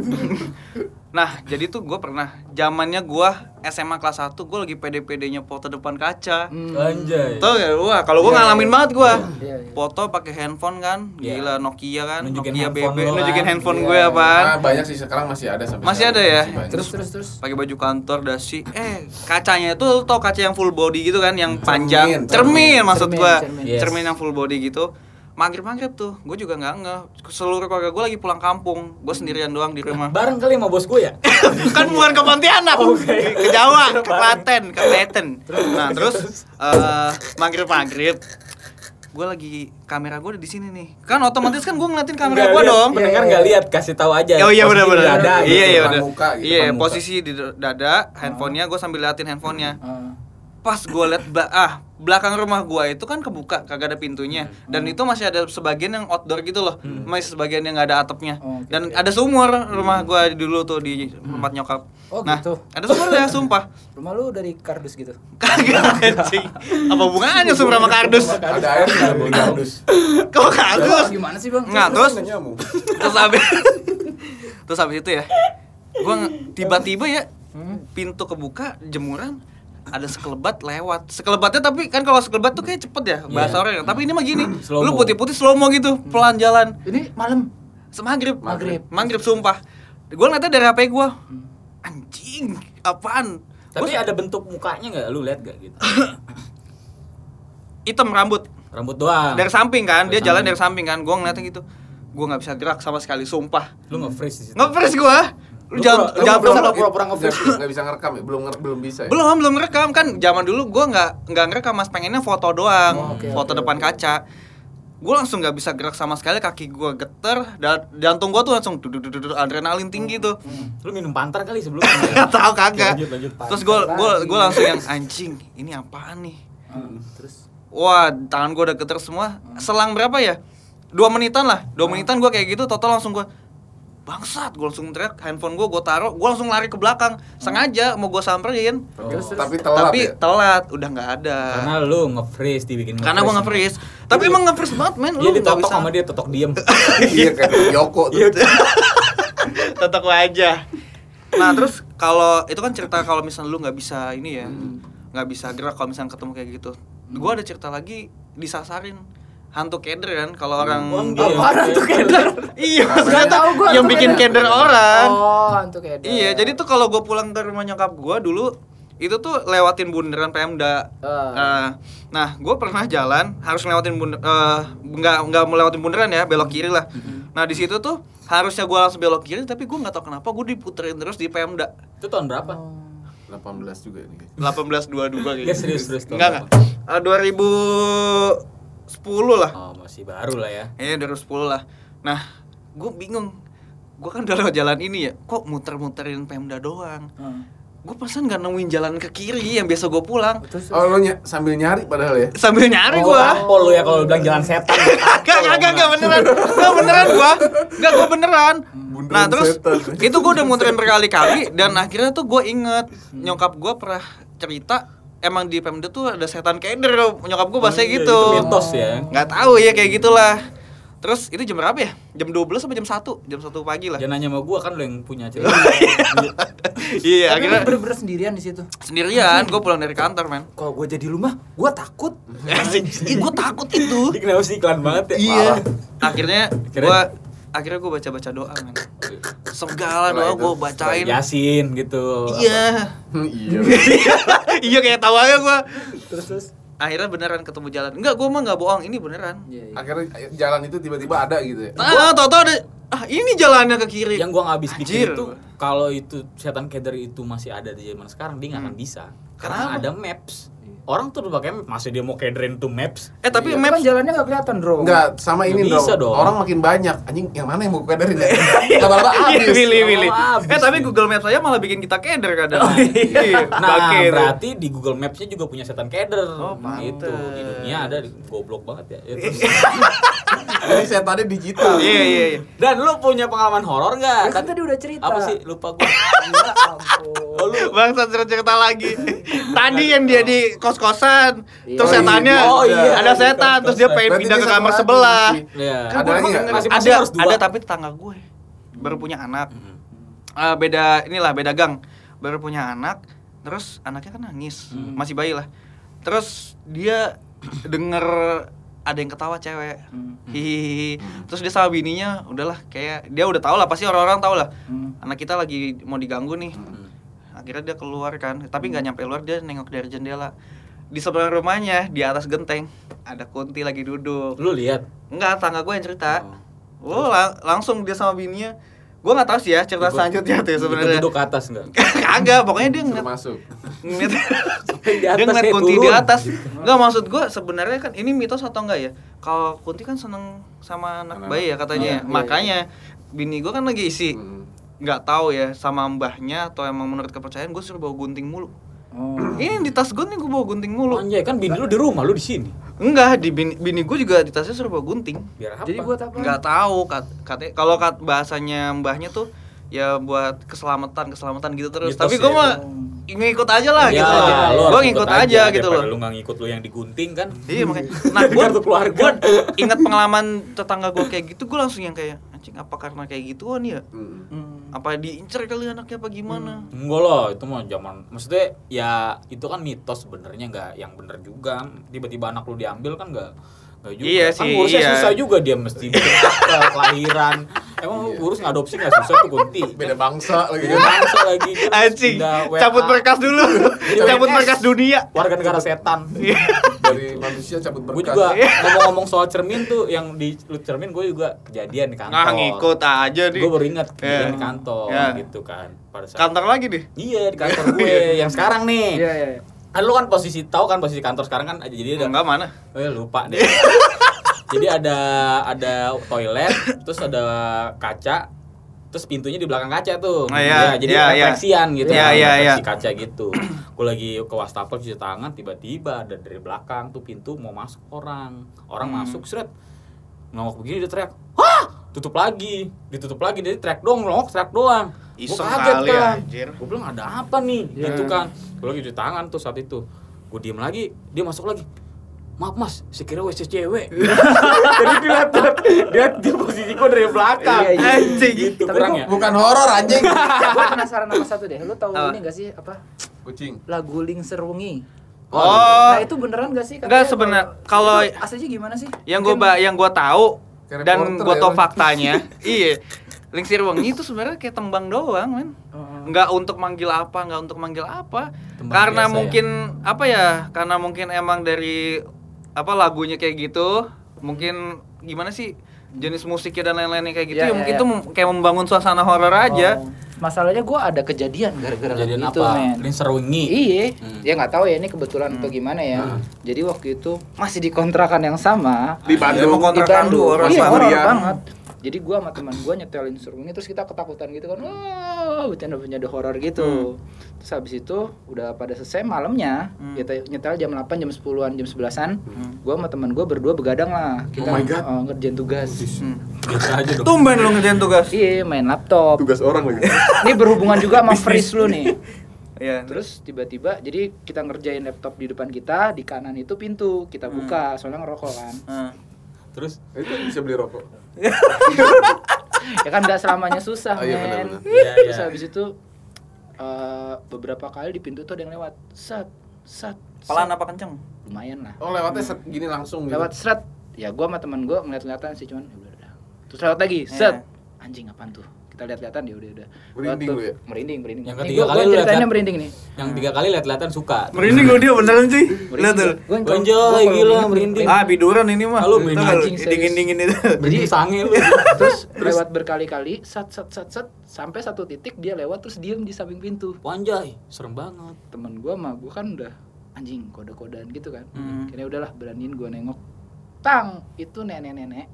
[SPEAKER 4] Nah, jadi tuh gue pernah, zamannya gue SMA kelas 1, gue lagi pede-pedenya foto depan kaca.
[SPEAKER 3] Hmm.
[SPEAKER 2] Anjay.
[SPEAKER 4] Tuh ya, wah kalau gue
[SPEAKER 3] Iya,
[SPEAKER 4] ngalamin
[SPEAKER 3] iya.
[SPEAKER 4] banget gue.
[SPEAKER 3] Iya, iya.
[SPEAKER 4] Foto pakai handphone kan,
[SPEAKER 2] Iya.
[SPEAKER 4] gila Nokia kan,
[SPEAKER 2] Nunjukin
[SPEAKER 4] Nokia
[SPEAKER 2] handphone
[SPEAKER 4] BB,
[SPEAKER 2] lo kan.
[SPEAKER 4] nunjukin handphone
[SPEAKER 3] Iya,
[SPEAKER 4] gue
[SPEAKER 3] iya.
[SPEAKER 4] apaan.
[SPEAKER 1] Ah, banyak sih sekarang masih ada sampai
[SPEAKER 4] Kan? Masih
[SPEAKER 1] sekarang.
[SPEAKER 4] ada ya?
[SPEAKER 1] banyak.
[SPEAKER 3] Terus terus terus.
[SPEAKER 4] pakai baju kantor dasi eh kacanya itu lo tau kaca yang full body gitu kan yang panjang cermin,
[SPEAKER 1] cermin.
[SPEAKER 4] maksud
[SPEAKER 3] Cermin,
[SPEAKER 4] gua
[SPEAKER 3] cermin.
[SPEAKER 4] cermin,
[SPEAKER 2] Yes.
[SPEAKER 4] yang full body gitu maghrib maghrib tuh gue juga nggak ngeh seluruh keluarga gue lagi pulang kampung gue sendirian doang di rumah
[SPEAKER 2] Bareng kali sama bos gue ya?
[SPEAKER 4] <laughs> kan bukan ke Pontianak ke Jawa ke Klaten ke Klaten nah terus eh, maghrib maghrib gue lagi kamera gue udah di sini nih kan otomatis kan gue ngeliatin
[SPEAKER 2] Nggak
[SPEAKER 4] kamera gue
[SPEAKER 2] lihat,
[SPEAKER 4] dong Iya,
[SPEAKER 2] Pendengar nggak lihat, kasih tahu aja.
[SPEAKER 4] Oh iya
[SPEAKER 2] Posisi
[SPEAKER 4] benar benar.
[SPEAKER 2] di dada
[SPEAKER 4] Iya
[SPEAKER 2] gitu.
[SPEAKER 4] iya
[SPEAKER 1] depan
[SPEAKER 4] benar.
[SPEAKER 1] muka gitu,
[SPEAKER 4] Iya
[SPEAKER 2] depan muka.
[SPEAKER 4] posisi di dada, handphonenya gue sambil liatin handphonenya.
[SPEAKER 3] Ah.
[SPEAKER 4] Pas gue liat ba- ah belakang rumah gue itu kan kebuka kagak ada pintunya dan itu masih ada sebagian yang outdoor gitu loh, masih sebagian yang nggak ada atapnya
[SPEAKER 3] Oh, oke,
[SPEAKER 4] dan ada sumur rumah gue dulu tuh di tempat nyokap.
[SPEAKER 3] Oh,
[SPEAKER 4] nah
[SPEAKER 3] gitu.
[SPEAKER 4] ada sumur ya sumpah.
[SPEAKER 3] Rumah lu dari kardus gitu.
[SPEAKER 4] Kagak anjing. Apa hubungannya sumur sama kardus?
[SPEAKER 1] ada air nggak di kardus
[SPEAKER 4] Kok kardus?
[SPEAKER 3] Gimana sih, Bang?
[SPEAKER 4] Nggak, terus
[SPEAKER 1] Nggak nyamuk
[SPEAKER 4] terus abis terus abis itu ya gua nge- tiba-tiba ya pintu kebuka jemuran ada sekelebat lewat sekelebatnya tapi kan kalau sekelebat tuh kayak cepet ya bahasa
[SPEAKER 2] Iya. Hmm.
[SPEAKER 4] orang ya. tapi ini mah gini
[SPEAKER 2] Slow-mo.
[SPEAKER 4] lu putih-putih slow mo gitu pelan jalan
[SPEAKER 3] Ini malam.
[SPEAKER 4] semagrib
[SPEAKER 3] Maghrib.
[SPEAKER 4] maghrib sumpah gua ngeliatnya dari hp gua anjing apaan
[SPEAKER 2] Tapi
[SPEAKER 4] Gua-
[SPEAKER 2] ada bentuk mukanya nggak? Lu lihat nggak gitu?
[SPEAKER 4] hitam rambut
[SPEAKER 2] Rambut doang.
[SPEAKER 4] dari samping kan dia
[SPEAKER 2] Ah. Dari
[SPEAKER 4] jalan
[SPEAKER 2] samping.
[SPEAKER 4] dari samping kan gua ngeliatnya gitu gua nggak bisa gerak sama sekali sumpah
[SPEAKER 2] Lu nge-freeze di situ.
[SPEAKER 4] ngepres gua lu
[SPEAKER 2] Gitu. Lu
[SPEAKER 4] jangan
[SPEAKER 2] pura- lu
[SPEAKER 4] jangan
[SPEAKER 2] pura-
[SPEAKER 4] pura-
[SPEAKER 2] pura-pura nge-freeze.
[SPEAKER 1] Nggak- nggak bisa ngerekam ya belum nge- belum bisa ya
[SPEAKER 4] Belum, belum ngerekam kan zaman dulu gua nggak nggak ngerekam mas pengennya foto doang,
[SPEAKER 3] Oh, oke,
[SPEAKER 4] foto
[SPEAKER 3] oke,
[SPEAKER 4] depan
[SPEAKER 3] oke.
[SPEAKER 4] kaca. Gue langsung nggak bisa gerak sama sekali, kaki gua geter, dan jantung gua tuh langsung duduk-duduk adrenalin tinggi tuh.
[SPEAKER 2] Lu minum pantar kali sebelumnya.
[SPEAKER 4] <laughs> Gak tahu kagak.
[SPEAKER 2] Lanjut, lanjut.
[SPEAKER 4] Terus gua gua gua langsung yang anjing, ini apaan nih?
[SPEAKER 3] Ah, Terus
[SPEAKER 4] Wah, tangan gua udah geter semua. Selang berapa ya? Dua menitan lah. Dua menitan gua kayak gitu, total langsung gua bangsat, gua langsung teriak handphone gua gua taruh, gua langsung lari ke belakang. Sengaja mau gua samperin.
[SPEAKER 1] Tapi-
[SPEAKER 3] Terus, terus.
[SPEAKER 1] tapi telat
[SPEAKER 4] tapi
[SPEAKER 1] ya
[SPEAKER 4] telat udah nggak ada
[SPEAKER 2] Karena lu nge-freeze dibikin
[SPEAKER 4] karena gua nge-freeze tapi emang nge-freeze banget men
[SPEAKER 2] Dia
[SPEAKER 4] lu nggak
[SPEAKER 2] ditotok
[SPEAKER 4] bisa
[SPEAKER 2] sama dia totok
[SPEAKER 4] <laughs>
[SPEAKER 2] diem.
[SPEAKER 1] iya kayak Yoko tuh
[SPEAKER 4] tetap aja nah terus kalau itu kan cerita kalau misalnya lu nggak bisa ini ya nggak bisa gerak kalau misalnya ketemu kayak gitu gua ada cerita lagi disasarin hantu keder kan kalau orang
[SPEAKER 2] tuh
[SPEAKER 4] iya
[SPEAKER 3] Nggak
[SPEAKER 4] ternyata
[SPEAKER 3] tahu gua
[SPEAKER 4] yang
[SPEAKER 3] hantu
[SPEAKER 4] bikin
[SPEAKER 1] keder.
[SPEAKER 4] keder orang
[SPEAKER 3] gitu? Oh, untuk kayak
[SPEAKER 4] kan? iya jadi tuh kalau gua pulang ke rumah nyokap gua dulu itu tuh lewatin bundaran Pemda
[SPEAKER 3] Ah.
[SPEAKER 4] Nah, nah gue pernah jalan harus ngelewatin bund eh, nggak nggak melewatin bundaran ya belok kiri lah. Nah di situ tuh harusnya gue langsung belok kiri tapi gue nggak tahu kenapa gue diputerin terus di Pemda
[SPEAKER 2] Itu tahun berapa?
[SPEAKER 1] 18 juga ini
[SPEAKER 4] 1822 kayak gitu.
[SPEAKER 2] Ya, serius, serius,
[SPEAKER 4] Nggak nggak. Eh,
[SPEAKER 2] tolong.
[SPEAKER 4] 2010 lah.
[SPEAKER 2] Oh, masih baru lah ya.
[SPEAKER 4] Iya 2010 lah. Nah gue bingung. Gue kan udah lewat jalan ini ya. Kok muter-muterin Pemda doang?
[SPEAKER 3] Hmm.
[SPEAKER 4] Gue perasaan nggak nemuin jalan ke kiri yang biasa gue pulang.
[SPEAKER 3] Terus
[SPEAKER 1] oh lo ny- sambil nyari padahal ya
[SPEAKER 4] Sambil nyari
[SPEAKER 2] Oh,
[SPEAKER 4] gue.
[SPEAKER 2] Tampol lu ya kalau lu bilang jalan
[SPEAKER 4] <laughs>
[SPEAKER 2] setan.
[SPEAKER 4] Gak, gak, gak, gak beneran Gak beneran gua Gak, gua beneran Nah
[SPEAKER 1] Bundaran
[SPEAKER 4] terus Gitu.
[SPEAKER 1] setan.
[SPEAKER 4] Itu gua udah muterin berkali-kali Dan akhirnya tuh gua inget Nyokap gua pernah cerita Emang di Pemda tuh ada setan keder Nyokap gua bahasanya
[SPEAKER 2] Iya,
[SPEAKER 4] gitu
[SPEAKER 2] Itu mitos ya.
[SPEAKER 4] Gak tahu ya kayak gitulah Terus itu jam berapa ya? Jam 12 apa jam 1? Jam 1 pagi lah
[SPEAKER 2] Jangan nanya sama gua kan lu yang punya cerita.
[SPEAKER 4] Iya
[SPEAKER 3] Tapi lu
[SPEAKER 4] akhirnya
[SPEAKER 3] bener-bener sendirian di situ.
[SPEAKER 4] Sendirian gua pulang dari kantor men
[SPEAKER 3] Kalau gue jadi lu mah, gue takut.
[SPEAKER 2] <laughs>
[SPEAKER 4] Ih gua takut Iya, itu
[SPEAKER 2] Ini kenapa sih iklan banget ya?
[SPEAKER 4] Iya. Akhirnya
[SPEAKER 2] Akhirnya-
[SPEAKER 4] gua akhirnya gua baca-baca doa men. Segala doa
[SPEAKER 1] Setelah itu,
[SPEAKER 4] gua
[SPEAKER 2] Parah.
[SPEAKER 4] bacain.
[SPEAKER 2] Yasin gitu.
[SPEAKER 4] Iya.
[SPEAKER 1] <laughs> iya
[SPEAKER 4] Iya kayak tahu aja gua.
[SPEAKER 3] Terus terus.
[SPEAKER 4] Akhirnya beneran ketemu jalan. Enggak, gua mah nggak bohong, ini beneran.
[SPEAKER 3] Iya, iya.
[SPEAKER 1] akhirnya jalan itu tiba-tiba ada gitu ya
[SPEAKER 4] Ah, tau-tau ada ah ini jalannya ke kiri.
[SPEAKER 2] yang gua nggak habis
[SPEAKER 4] Anjir.
[SPEAKER 2] pikir itu kalau itu setan keder itu masih ada di zaman sekarang dia nggak akan bisa karena
[SPEAKER 4] Hmm. Kenapa?
[SPEAKER 2] ada maps orang tuh udah pakai map masa dia mau kederin tuh
[SPEAKER 4] <laughs>
[SPEAKER 2] maps
[SPEAKER 4] Eh tapi
[SPEAKER 3] Tapi
[SPEAKER 4] map
[SPEAKER 3] kan jalannya gak kelihatan, Bro.
[SPEAKER 1] Enggak, sama ini
[SPEAKER 2] Nggak
[SPEAKER 1] dong.
[SPEAKER 2] bisa dong.
[SPEAKER 1] Orang makin banyak. Anjing, yang mana yang mau kederin ya? Lama-lama habis.
[SPEAKER 4] Iya, Willy
[SPEAKER 2] Lama-lama
[SPEAKER 4] Willy.
[SPEAKER 2] habis
[SPEAKER 4] Ah, Eh tapi
[SPEAKER 2] nih.
[SPEAKER 4] Google Maps saya malah bikin kita keder kadang. Iya,
[SPEAKER 2] nah
[SPEAKER 4] bangke.
[SPEAKER 2] berarti di Google Maps-nya juga punya setan keder
[SPEAKER 4] Oh,
[SPEAKER 2] gitu
[SPEAKER 4] pantes.
[SPEAKER 2] di dunia ada di- goblok banget ya, Ya, terus.
[SPEAKER 4] <laughs>
[SPEAKER 1] Jadi setannya digital.
[SPEAKER 4] Iya iya iya.
[SPEAKER 2] dan lu punya pengalaman horor
[SPEAKER 3] Ya
[SPEAKER 2] nggak
[SPEAKER 3] kan tadi udah cerita.
[SPEAKER 2] apa sih lupa
[SPEAKER 3] <laughs>
[SPEAKER 2] gua
[SPEAKER 3] Ya ampun.
[SPEAKER 2] oh, lu
[SPEAKER 4] Bangsa cerita lagi. Tadi yang dia di kos-kosan,
[SPEAKER 3] Iya.
[SPEAKER 4] terus
[SPEAKER 1] Oh, iya.
[SPEAKER 4] setannya
[SPEAKER 2] Oh, iya.
[SPEAKER 4] ada setan, terus dia pengen
[SPEAKER 1] Berarti
[SPEAKER 4] pindah
[SPEAKER 1] dia
[SPEAKER 4] ke
[SPEAKER 1] sama
[SPEAKER 4] kamar
[SPEAKER 1] lagi.
[SPEAKER 4] sebelah.
[SPEAKER 2] ya
[SPEAKER 4] Kan
[SPEAKER 1] Ada
[SPEAKER 4] gua
[SPEAKER 1] ini
[SPEAKER 4] emang
[SPEAKER 1] nggak?
[SPEAKER 4] denger-
[SPEAKER 2] Masing-masing
[SPEAKER 4] ada,
[SPEAKER 2] harus dua.
[SPEAKER 4] ada tapi tetangga gue baru punya anak. Eh, beda inilah beda gang. Baru punya anak, terus anaknya kan nangis, masih bayi lah. Terus dia <clears throat> denger ada yang ketawa cewek. Hihihi. Terus dia sama bininya udahlah kayak dia udah tau lah pasti orang-orang tau lah.
[SPEAKER 3] Hmm.
[SPEAKER 4] Anak kita lagi mau diganggu nih. Akhirnya dia keluar kan, tapi nggak nyampe luar dia nengok dari jendela. Di sebelah rumahnya di atas genteng ada kunti lagi duduk.
[SPEAKER 2] lu lihat
[SPEAKER 4] Enggak, tangga gue yang cerita. Oh, la- langsung dia sama bininya Gue nggak tahu sih ya cerita
[SPEAKER 2] Ikut-
[SPEAKER 4] selanjutnya tuh
[SPEAKER 2] ikut
[SPEAKER 4] sebenarnya.
[SPEAKER 2] duduk ke atas enggak
[SPEAKER 4] <laughs> Kagak, pokoknya dia
[SPEAKER 1] Suruh
[SPEAKER 4] ngeliat
[SPEAKER 1] masuk
[SPEAKER 4] ngeliat
[SPEAKER 2] di
[SPEAKER 4] dia
[SPEAKER 2] atas,
[SPEAKER 4] ngeliat
[SPEAKER 2] eh,
[SPEAKER 4] kunti di
[SPEAKER 2] turun.
[SPEAKER 4] atas nggak maksud gue sebenarnya kan ini mitos atau enggak ya kalau kunti kan seneng sama anak
[SPEAKER 1] Anak-anak.
[SPEAKER 4] bayi ya
[SPEAKER 3] Iya,
[SPEAKER 4] katanya ya.
[SPEAKER 3] iya,
[SPEAKER 4] makanya bini gue kan lagi isi
[SPEAKER 1] Hmm.
[SPEAKER 4] nggak tahu ya sama mbahnya atau emang menurut kepercayaan gue suruh bawa gunting mulu
[SPEAKER 3] Oh.
[SPEAKER 4] ini di tas gue nih gue bawa gunting mulu
[SPEAKER 2] Anjay kan bini lu di rumah lu di sini
[SPEAKER 4] enggak di bini, bini gue juga di tasnya suruh bawa gunting
[SPEAKER 2] biar apa
[SPEAKER 3] Jadi buat apa?
[SPEAKER 4] nggak tahu kat, katanya kalau kat bahasanya mbahnya tuh ya buat keselamatan keselamatan gitu terus
[SPEAKER 2] Mitos
[SPEAKER 4] tapi gue
[SPEAKER 2] ya.
[SPEAKER 4] mah ngikut aja lah
[SPEAKER 2] ya,
[SPEAKER 4] gitu loh
[SPEAKER 2] lo
[SPEAKER 4] gue
[SPEAKER 2] harus
[SPEAKER 4] ngikut aja, gitu
[SPEAKER 2] daripada
[SPEAKER 4] loh
[SPEAKER 2] lu nggak ngikut lu yang digunting kan
[SPEAKER 4] Iya
[SPEAKER 2] <laughs>
[SPEAKER 4] makanya. Nah,
[SPEAKER 2] Di
[SPEAKER 4] gua
[SPEAKER 2] kartu keluarga.
[SPEAKER 4] gua ingat pengalaman tetangga gua kayak gitu, gua langsung yang kayak anjing apa karena kayak gituan ya?
[SPEAKER 1] Hmm.
[SPEAKER 4] Apa diincer kali anaknya apa gimana?
[SPEAKER 2] Enggak lah, itu mah zaman maksudnya ya itu kan mitos sebenarnya nggak yang bener juga. Tiba-tiba anak lu diambil kan nggak nggak juga.
[SPEAKER 4] Iya
[SPEAKER 2] kan
[SPEAKER 4] sih,
[SPEAKER 2] ngurusnya
[SPEAKER 4] iya.
[SPEAKER 2] susah juga dia
[SPEAKER 4] <laughs>
[SPEAKER 2] mesti bikin akte kelahiran. Emang
[SPEAKER 4] Iya.
[SPEAKER 2] lu ngurus ngadopsi nggak susah tuh kunti.
[SPEAKER 1] beda bangsa lagi kan.
[SPEAKER 2] Dia <laughs> bangsa
[SPEAKER 4] <laughs>
[SPEAKER 2] lagi. terus
[SPEAKER 4] Anjing,
[SPEAKER 2] pindah WA.
[SPEAKER 4] cabut berkas dulu.
[SPEAKER 2] Iya,
[SPEAKER 4] cabut
[SPEAKER 2] WS.
[SPEAKER 4] berkas dunia. Iya.
[SPEAKER 2] Warga negara setan.
[SPEAKER 1] dari manusia cabut
[SPEAKER 2] gue
[SPEAKER 1] berkas
[SPEAKER 2] juga ngomong-ngomong soal cermin tuh yang di lu cermin gue juga kejadian di kantor.
[SPEAKER 4] Nah, ngikut aja nih.
[SPEAKER 2] Gue baru ingat kejadian
[SPEAKER 4] Iya.
[SPEAKER 2] di kantor
[SPEAKER 4] Iya.
[SPEAKER 2] gitu kan. Pada saat
[SPEAKER 4] Kantor lagi nih.
[SPEAKER 2] Iya di kantor
[SPEAKER 4] <laughs>
[SPEAKER 2] gue yang sekarang nih.
[SPEAKER 3] Iya, iya. iya.
[SPEAKER 2] Kan lu kan posisi tahu kan posisi kantor sekarang kan jadi ada
[SPEAKER 4] Enggak mana?
[SPEAKER 2] eh, lupa deh. jadi ada ada toilet, terus ada kaca, terus pintunya di belakang kaca tuh.
[SPEAKER 4] Oh, iya.
[SPEAKER 2] Ya, jadi
[SPEAKER 4] Iya, iya.
[SPEAKER 2] refleksian gitu.
[SPEAKER 4] Iya,
[SPEAKER 2] kan,
[SPEAKER 4] iya,
[SPEAKER 2] refleksi
[SPEAKER 4] iya.
[SPEAKER 2] kaca gitu. Gue lagi ke wastafel cuci tangan tiba-tiba ada dari belakang tuh pintu mau masuk orang. Orang
[SPEAKER 4] Hmm.
[SPEAKER 2] masuk seret. Nongok begini dia teriak. Hah! Tutup lagi, ditutup lagi, jadi teriak doang, nongok teriak doang. Gue
[SPEAKER 4] Iseng
[SPEAKER 2] kaget
[SPEAKER 4] kali
[SPEAKER 2] kan
[SPEAKER 4] anjir. Hmm.
[SPEAKER 2] gue bilang ada apa nih
[SPEAKER 3] Iya.
[SPEAKER 2] gitu kan gue lagi cuci tangan tuh saat itu gue diem lagi dia masuk lagi maaf mas saya kira WC cewek <laughs> jadi dilihat lihat dia posisi gue dari belakang
[SPEAKER 3] Iya, iya.
[SPEAKER 4] Anjing.
[SPEAKER 2] gitu
[SPEAKER 3] Tapi
[SPEAKER 2] kurang ya
[SPEAKER 1] bukan horor anjing
[SPEAKER 3] Gue penasaran sama satu deh. Lu tahu
[SPEAKER 4] Apa?
[SPEAKER 3] ini gak sih apa?
[SPEAKER 1] kucing
[SPEAKER 3] Lagu Ling Serungi.
[SPEAKER 2] Hmm.
[SPEAKER 4] Oh.
[SPEAKER 3] Nah, itu beneran gak sih?
[SPEAKER 4] Nggak,
[SPEAKER 3] Katanya
[SPEAKER 4] sebenar- kalau-
[SPEAKER 3] itu aslinya gimana sih?
[SPEAKER 4] Yang
[SPEAKER 3] Mungkin-
[SPEAKER 4] gua ba- yang gua tahu
[SPEAKER 1] Kayak
[SPEAKER 4] dan
[SPEAKER 1] reporter
[SPEAKER 4] gua
[SPEAKER 1] ya,
[SPEAKER 4] tahu
[SPEAKER 1] lu.
[SPEAKER 4] faktanya. <laughs> iya. Lingsir wangi itu sebenarnya kayak tembang doang, men.
[SPEAKER 3] Oh.
[SPEAKER 4] nggak untuk manggil apa nggak untuk manggil apa
[SPEAKER 2] Tembang
[SPEAKER 4] karena
[SPEAKER 2] biasa
[SPEAKER 4] mungkin apa ya karena mungkin emang dari apa lagunya kayak gitu mungkin gimana sih jenis musiknya dan lain-lainnya kayak gitu
[SPEAKER 3] Ya,
[SPEAKER 4] ya,
[SPEAKER 3] ya,
[SPEAKER 4] mungkin
[SPEAKER 3] ya.
[SPEAKER 4] itu mem- kayak membangun suasana horor aja
[SPEAKER 3] Oh. Masalahnya gue ada kejadian gara-gara
[SPEAKER 2] kejadian
[SPEAKER 3] lagu itu,
[SPEAKER 2] apa
[SPEAKER 3] Gitu, men.
[SPEAKER 2] ini serungi
[SPEAKER 3] Iya,
[SPEAKER 2] Hmm.
[SPEAKER 3] ya nggak tahu ya ini kebetulan atau gimana ya. Jadi waktu itu masih di kontrakan yang sama
[SPEAKER 1] di Bandung
[SPEAKER 4] Mau kontrakan
[SPEAKER 3] di Bandung.
[SPEAKER 4] lu, orang
[SPEAKER 3] iya,
[SPEAKER 4] sama
[SPEAKER 3] horor
[SPEAKER 1] dia.
[SPEAKER 3] banget. Jadi gua sama teman gua nyetelin suruh ini terus kita ketakutan gitu kan. Wah, bercanda-bercanda horor gitu.
[SPEAKER 1] Hmm.
[SPEAKER 3] Terus habis itu udah pada selesai malamnya, kita nyetel jam 8, jam 10-an, jam 11-an. Gua sama teman gua berdua begadang lah. Kita
[SPEAKER 1] Hmm. Oh my God.
[SPEAKER 3] eh, ngerjain tugas.
[SPEAKER 2] biasa Gitu aja dong
[SPEAKER 4] Hmm. tumben lu ngerjain tugas
[SPEAKER 3] Iya, main laptop.
[SPEAKER 1] tugas orang lagi
[SPEAKER 3] Ini berhubungan
[SPEAKER 1] <laughs>
[SPEAKER 3] juga sama freeze lu nih.
[SPEAKER 4] ya
[SPEAKER 3] Terus tiba-tiba jadi kita ngerjain laptop di depan kita, di kanan itu pintu, kita
[SPEAKER 1] Hmm.
[SPEAKER 3] buka soalnya ngerokok kan.
[SPEAKER 4] Hmm.
[SPEAKER 2] terus
[SPEAKER 1] itu bisa beli rokok
[SPEAKER 3] ya kan nggak selamanya susah,
[SPEAKER 1] Oh iya,
[SPEAKER 3] men.
[SPEAKER 1] benar-benar.
[SPEAKER 2] Iya,
[SPEAKER 3] Terus
[SPEAKER 2] iya.
[SPEAKER 3] habis itu eh, beberapa kali di pintu tuh ada yang lewat. Sat, sat. sat.
[SPEAKER 4] pelan apa kenceng
[SPEAKER 3] Lumayan lah.
[SPEAKER 1] oh lewatnya set gini langsung gitu
[SPEAKER 3] Lewat seret. Ya gua sama teman gua ngeliat-ngeliatan sih cuman ya udah, udah. Terus lewat lagi,
[SPEAKER 2] Ya.
[SPEAKER 3] set. Anjing apaan tuh? Kita lihat-lihatan ya udah udah.
[SPEAKER 1] Merinding
[SPEAKER 3] Lewat
[SPEAKER 1] lu
[SPEAKER 3] tuh.
[SPEAKER 1] ya?
[SPEAKER 3] Merinding, merinding.
[SPEAKER 2] Yang
[SPEAKER 3] Nih,
[SPEAKER 2] ketiga
[SPEAKER 3] gua-
[SPEAKER 2] kali
[SPEAKER 3] gua
[SPEAKER 2] lu
[SPEAKER 3] ceritanya
[SPEAKER 2] lihat-lihat.
[SPEAKER 3] merinding nih.
[SPEAKER 2] yang tiga kali lihat-lihatan suka
[SPEAKER 4] merinding gua dia beneran sih lihat tuh
[SPEAKER 3] Gua-
[SPEAKER 2] Gua
[SPEAKER 3] gua-
[SPEAKER 2] enjoy,
[SPEAKER 3] gua kalau
[SPEAKER 2] gila,
[SPEAKER 3] ingat-
[SPEAKER 2] merinding.
[SPEAKER 4] ah biduran ini mah
[SPEAKER 2] Halo,
[SPEAKER 4] Tuh,
[SPEAKER 2] merinding.
[SPEAKER 4] kalau
[SPEAKER 3] Anjing, serius.
[SPEAKER 4] dingin dingin itu
[SPEAKER 2] jadi sange lu
[SPEAKER 3] <laughs> terus, lewat berkali-kali sat sat sat sat sampai satu titik dia lewat terus diem di samping pintu
[SPEAKER 2] wanjay serem banget
[SPEAKER 3] temen gua sama gua kan udah anjing kode-kodean gitu kan
[SPEAKER 4] Hmm.
[SPEAKER 3] akhirnya udahlah beraniin gua nengok tang itu nenek-nenek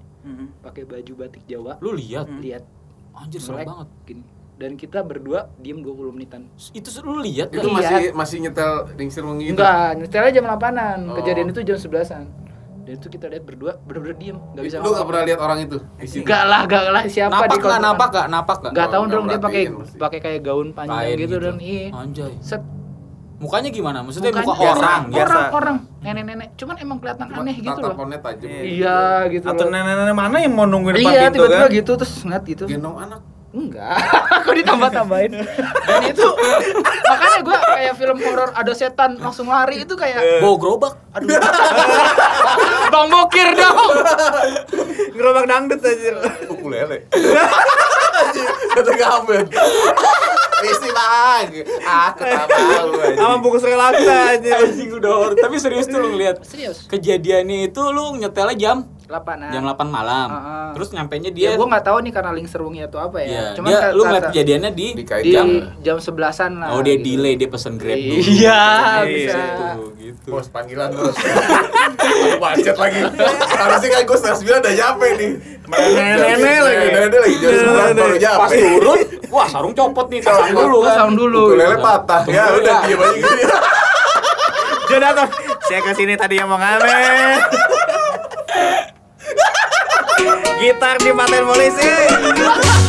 [SPEAKER 3] pakai baju batik Jawa
[SPEAKER 2] lu lihat
[SPEAKER 3] lihat Hmm.
[SPEAKER 2] anjir serem
[SPEAKER 3] melek
[SPEAKER 2] banget
[SPEAKER 3] gini dan kita berdua diem 20 menitan
[SPEAKER 2] itu lu lihat
[SPEAKER 1] itu
[SPEAKER 2] nggak?
[SPEAKER 3] Iya.
[SPEAKER 1] masih masih nyetel ringsir wangi itu
[SPEAKER 3] enggak nyetelnya jam 8an
[SPEAKER 1] Gitu. Oh.
[SPEAKER 3] kejadian itu jam 11an dan itu kita lihat berdua bener-bener diem nggak bisa
[SPEAKER 1] lu nggak
[SPEAKER 3] ngomong.
[SPEAKER 1] pernah lihat orang itu di situ
[SPEAKER 3] enggak lah enggak lah siapa
[SPEAKER 2] napak
[SPEAKER 3] di
[SPEAKER 2] nggak
[SPEAKER 3] kontrakan.
[SPEAKER 2] napak nggak napak nggak
[SPEAKER 3] nggak tahu
[SPEAKER 1] Nggak
[SPEAKER 3] dong dia pakai
[SPEAKER 1] merhatiin pasti.
[SPEAKER 3] pakai kayak gaun panjang
[SPEAKER 2] Kain
[SPEAKER 3] gitu, dan iya
[SPEAKER 2] anjay
[SPEAKER 3] set
[SPEAKER 2] mukanya gimana maksudnya
[SPEAKER 3] Mukanya
[SPEAKER 2] Oh. muka
[SPEAKER 3] biasa.
[SPEAKER 2] orang ya?
[SPEAKER 4] biasa.
[SPEAKER 3] orang orang nenek-nenek cuman emang kelihatan
[SPEAKER 1] Cuma
[SPEAKER 3] aneh gitu loh
[SPEAKER 1] tatapannya tajam
[SPEAKER 3] iya gitu
[SPEAKER 4] atau
[SPEAKER 3] loh
[SPEAKER 4] nenek-nenek mana yang mau nunggu depan
[SPEAKER 3] iya
[SPEAKER 4] pintu
[SPEAKER 3] tiba-tiba
[SPEAKER 4] kan
[SPEAKER 3] gitu terus ngeliat gitu
[SPEAKER 1] gendong anak
[SPEAKER 3] enggak <laughs> aku ditambah-tambahin dan itu makanya gua kayak film horor ada setan langsung lari itu kayak
[SPEAKER 2] bawa gerobak
[SPEAKER 3] aduh bang bokir dong
[SPEAKER 4] gerobak dangdut aja
[SPEAKER 1] ukulele kata ya. kabel isi lagi aku tak tahu
[SPEAKER 4] sama buku sri lanka aja
[SPEAKER 3] Iya.
[SPEAKER 2] anjing udah horor tapi serius tuh lu ngeliat
[SPEAKER 3] serius
[SPEAKER 2] kejadiannya itu lu nyetelnya jam
[SPEAKER 3] Lapanan.
[SPEAKER 2] jam 8 malam.
[SPEAKER 3] Heeh.
[SPEAKER 2] Terus nyampe nya
[SPEAKER 3] nah. Ya,
[SPEAKER 2] dia
[SPEAKER 3] gua nggak tahu nih karena link serungnya atau apa
[SPEAKER 2] Iya,
[SPEAKER 3] ya. Cuman
[SPEAKER 2] dia
[SPEAKER 3] ka-
[SPEAKER 2] lu
[SPEAKER 3] kata-
[SPEAKER 2] ngeliat kejadiannya di
[SPEAKER 3] di
[SPEAKER 1] dikaitkan
[SPEAKER 3] jam sebelasan lah.
[SPEAKER 2] Oh, dia
[SPEAKER 3] gitu.
[SPEAKER 2] delay, dia pesen Grab dulu.
[SPEAKER 3] Iya,
[SPEAKER 2] Iya,
[SPEAKER 3] bisa.
[SPEAKER 1] Oh,
[SPEAKER 2] gitu, gitu.
[SPEAKER 1] bos panggilan bos Aku macet lagi harusnya kan gue setengah sembilan udah nyampe nih
[SPEAKER 4] Nenek-nenek lagi.
[SPEAKER 1] nenek lagi jam sembilan baru nyampe
[SPEAKER 2] Pas turun, wah sarung copot nih, Iya, sarung dulu.
[SPEAKER 3] Gua sound dulu. gitu.
[SPEAKER 1] ukulele patah
[SPEAKER 4] Iya.
[SPEAKER 1] ya
[SPEAKER 2] Tunggu
[SPEAKER 1] udah
[SPEAKER 2] ya.
[SPEAKER 1] diem aja gitu ya
[SPEAKER 4] Jonathan, saya kesini tadi yang mau ngamen. Gitar dimatain polisi.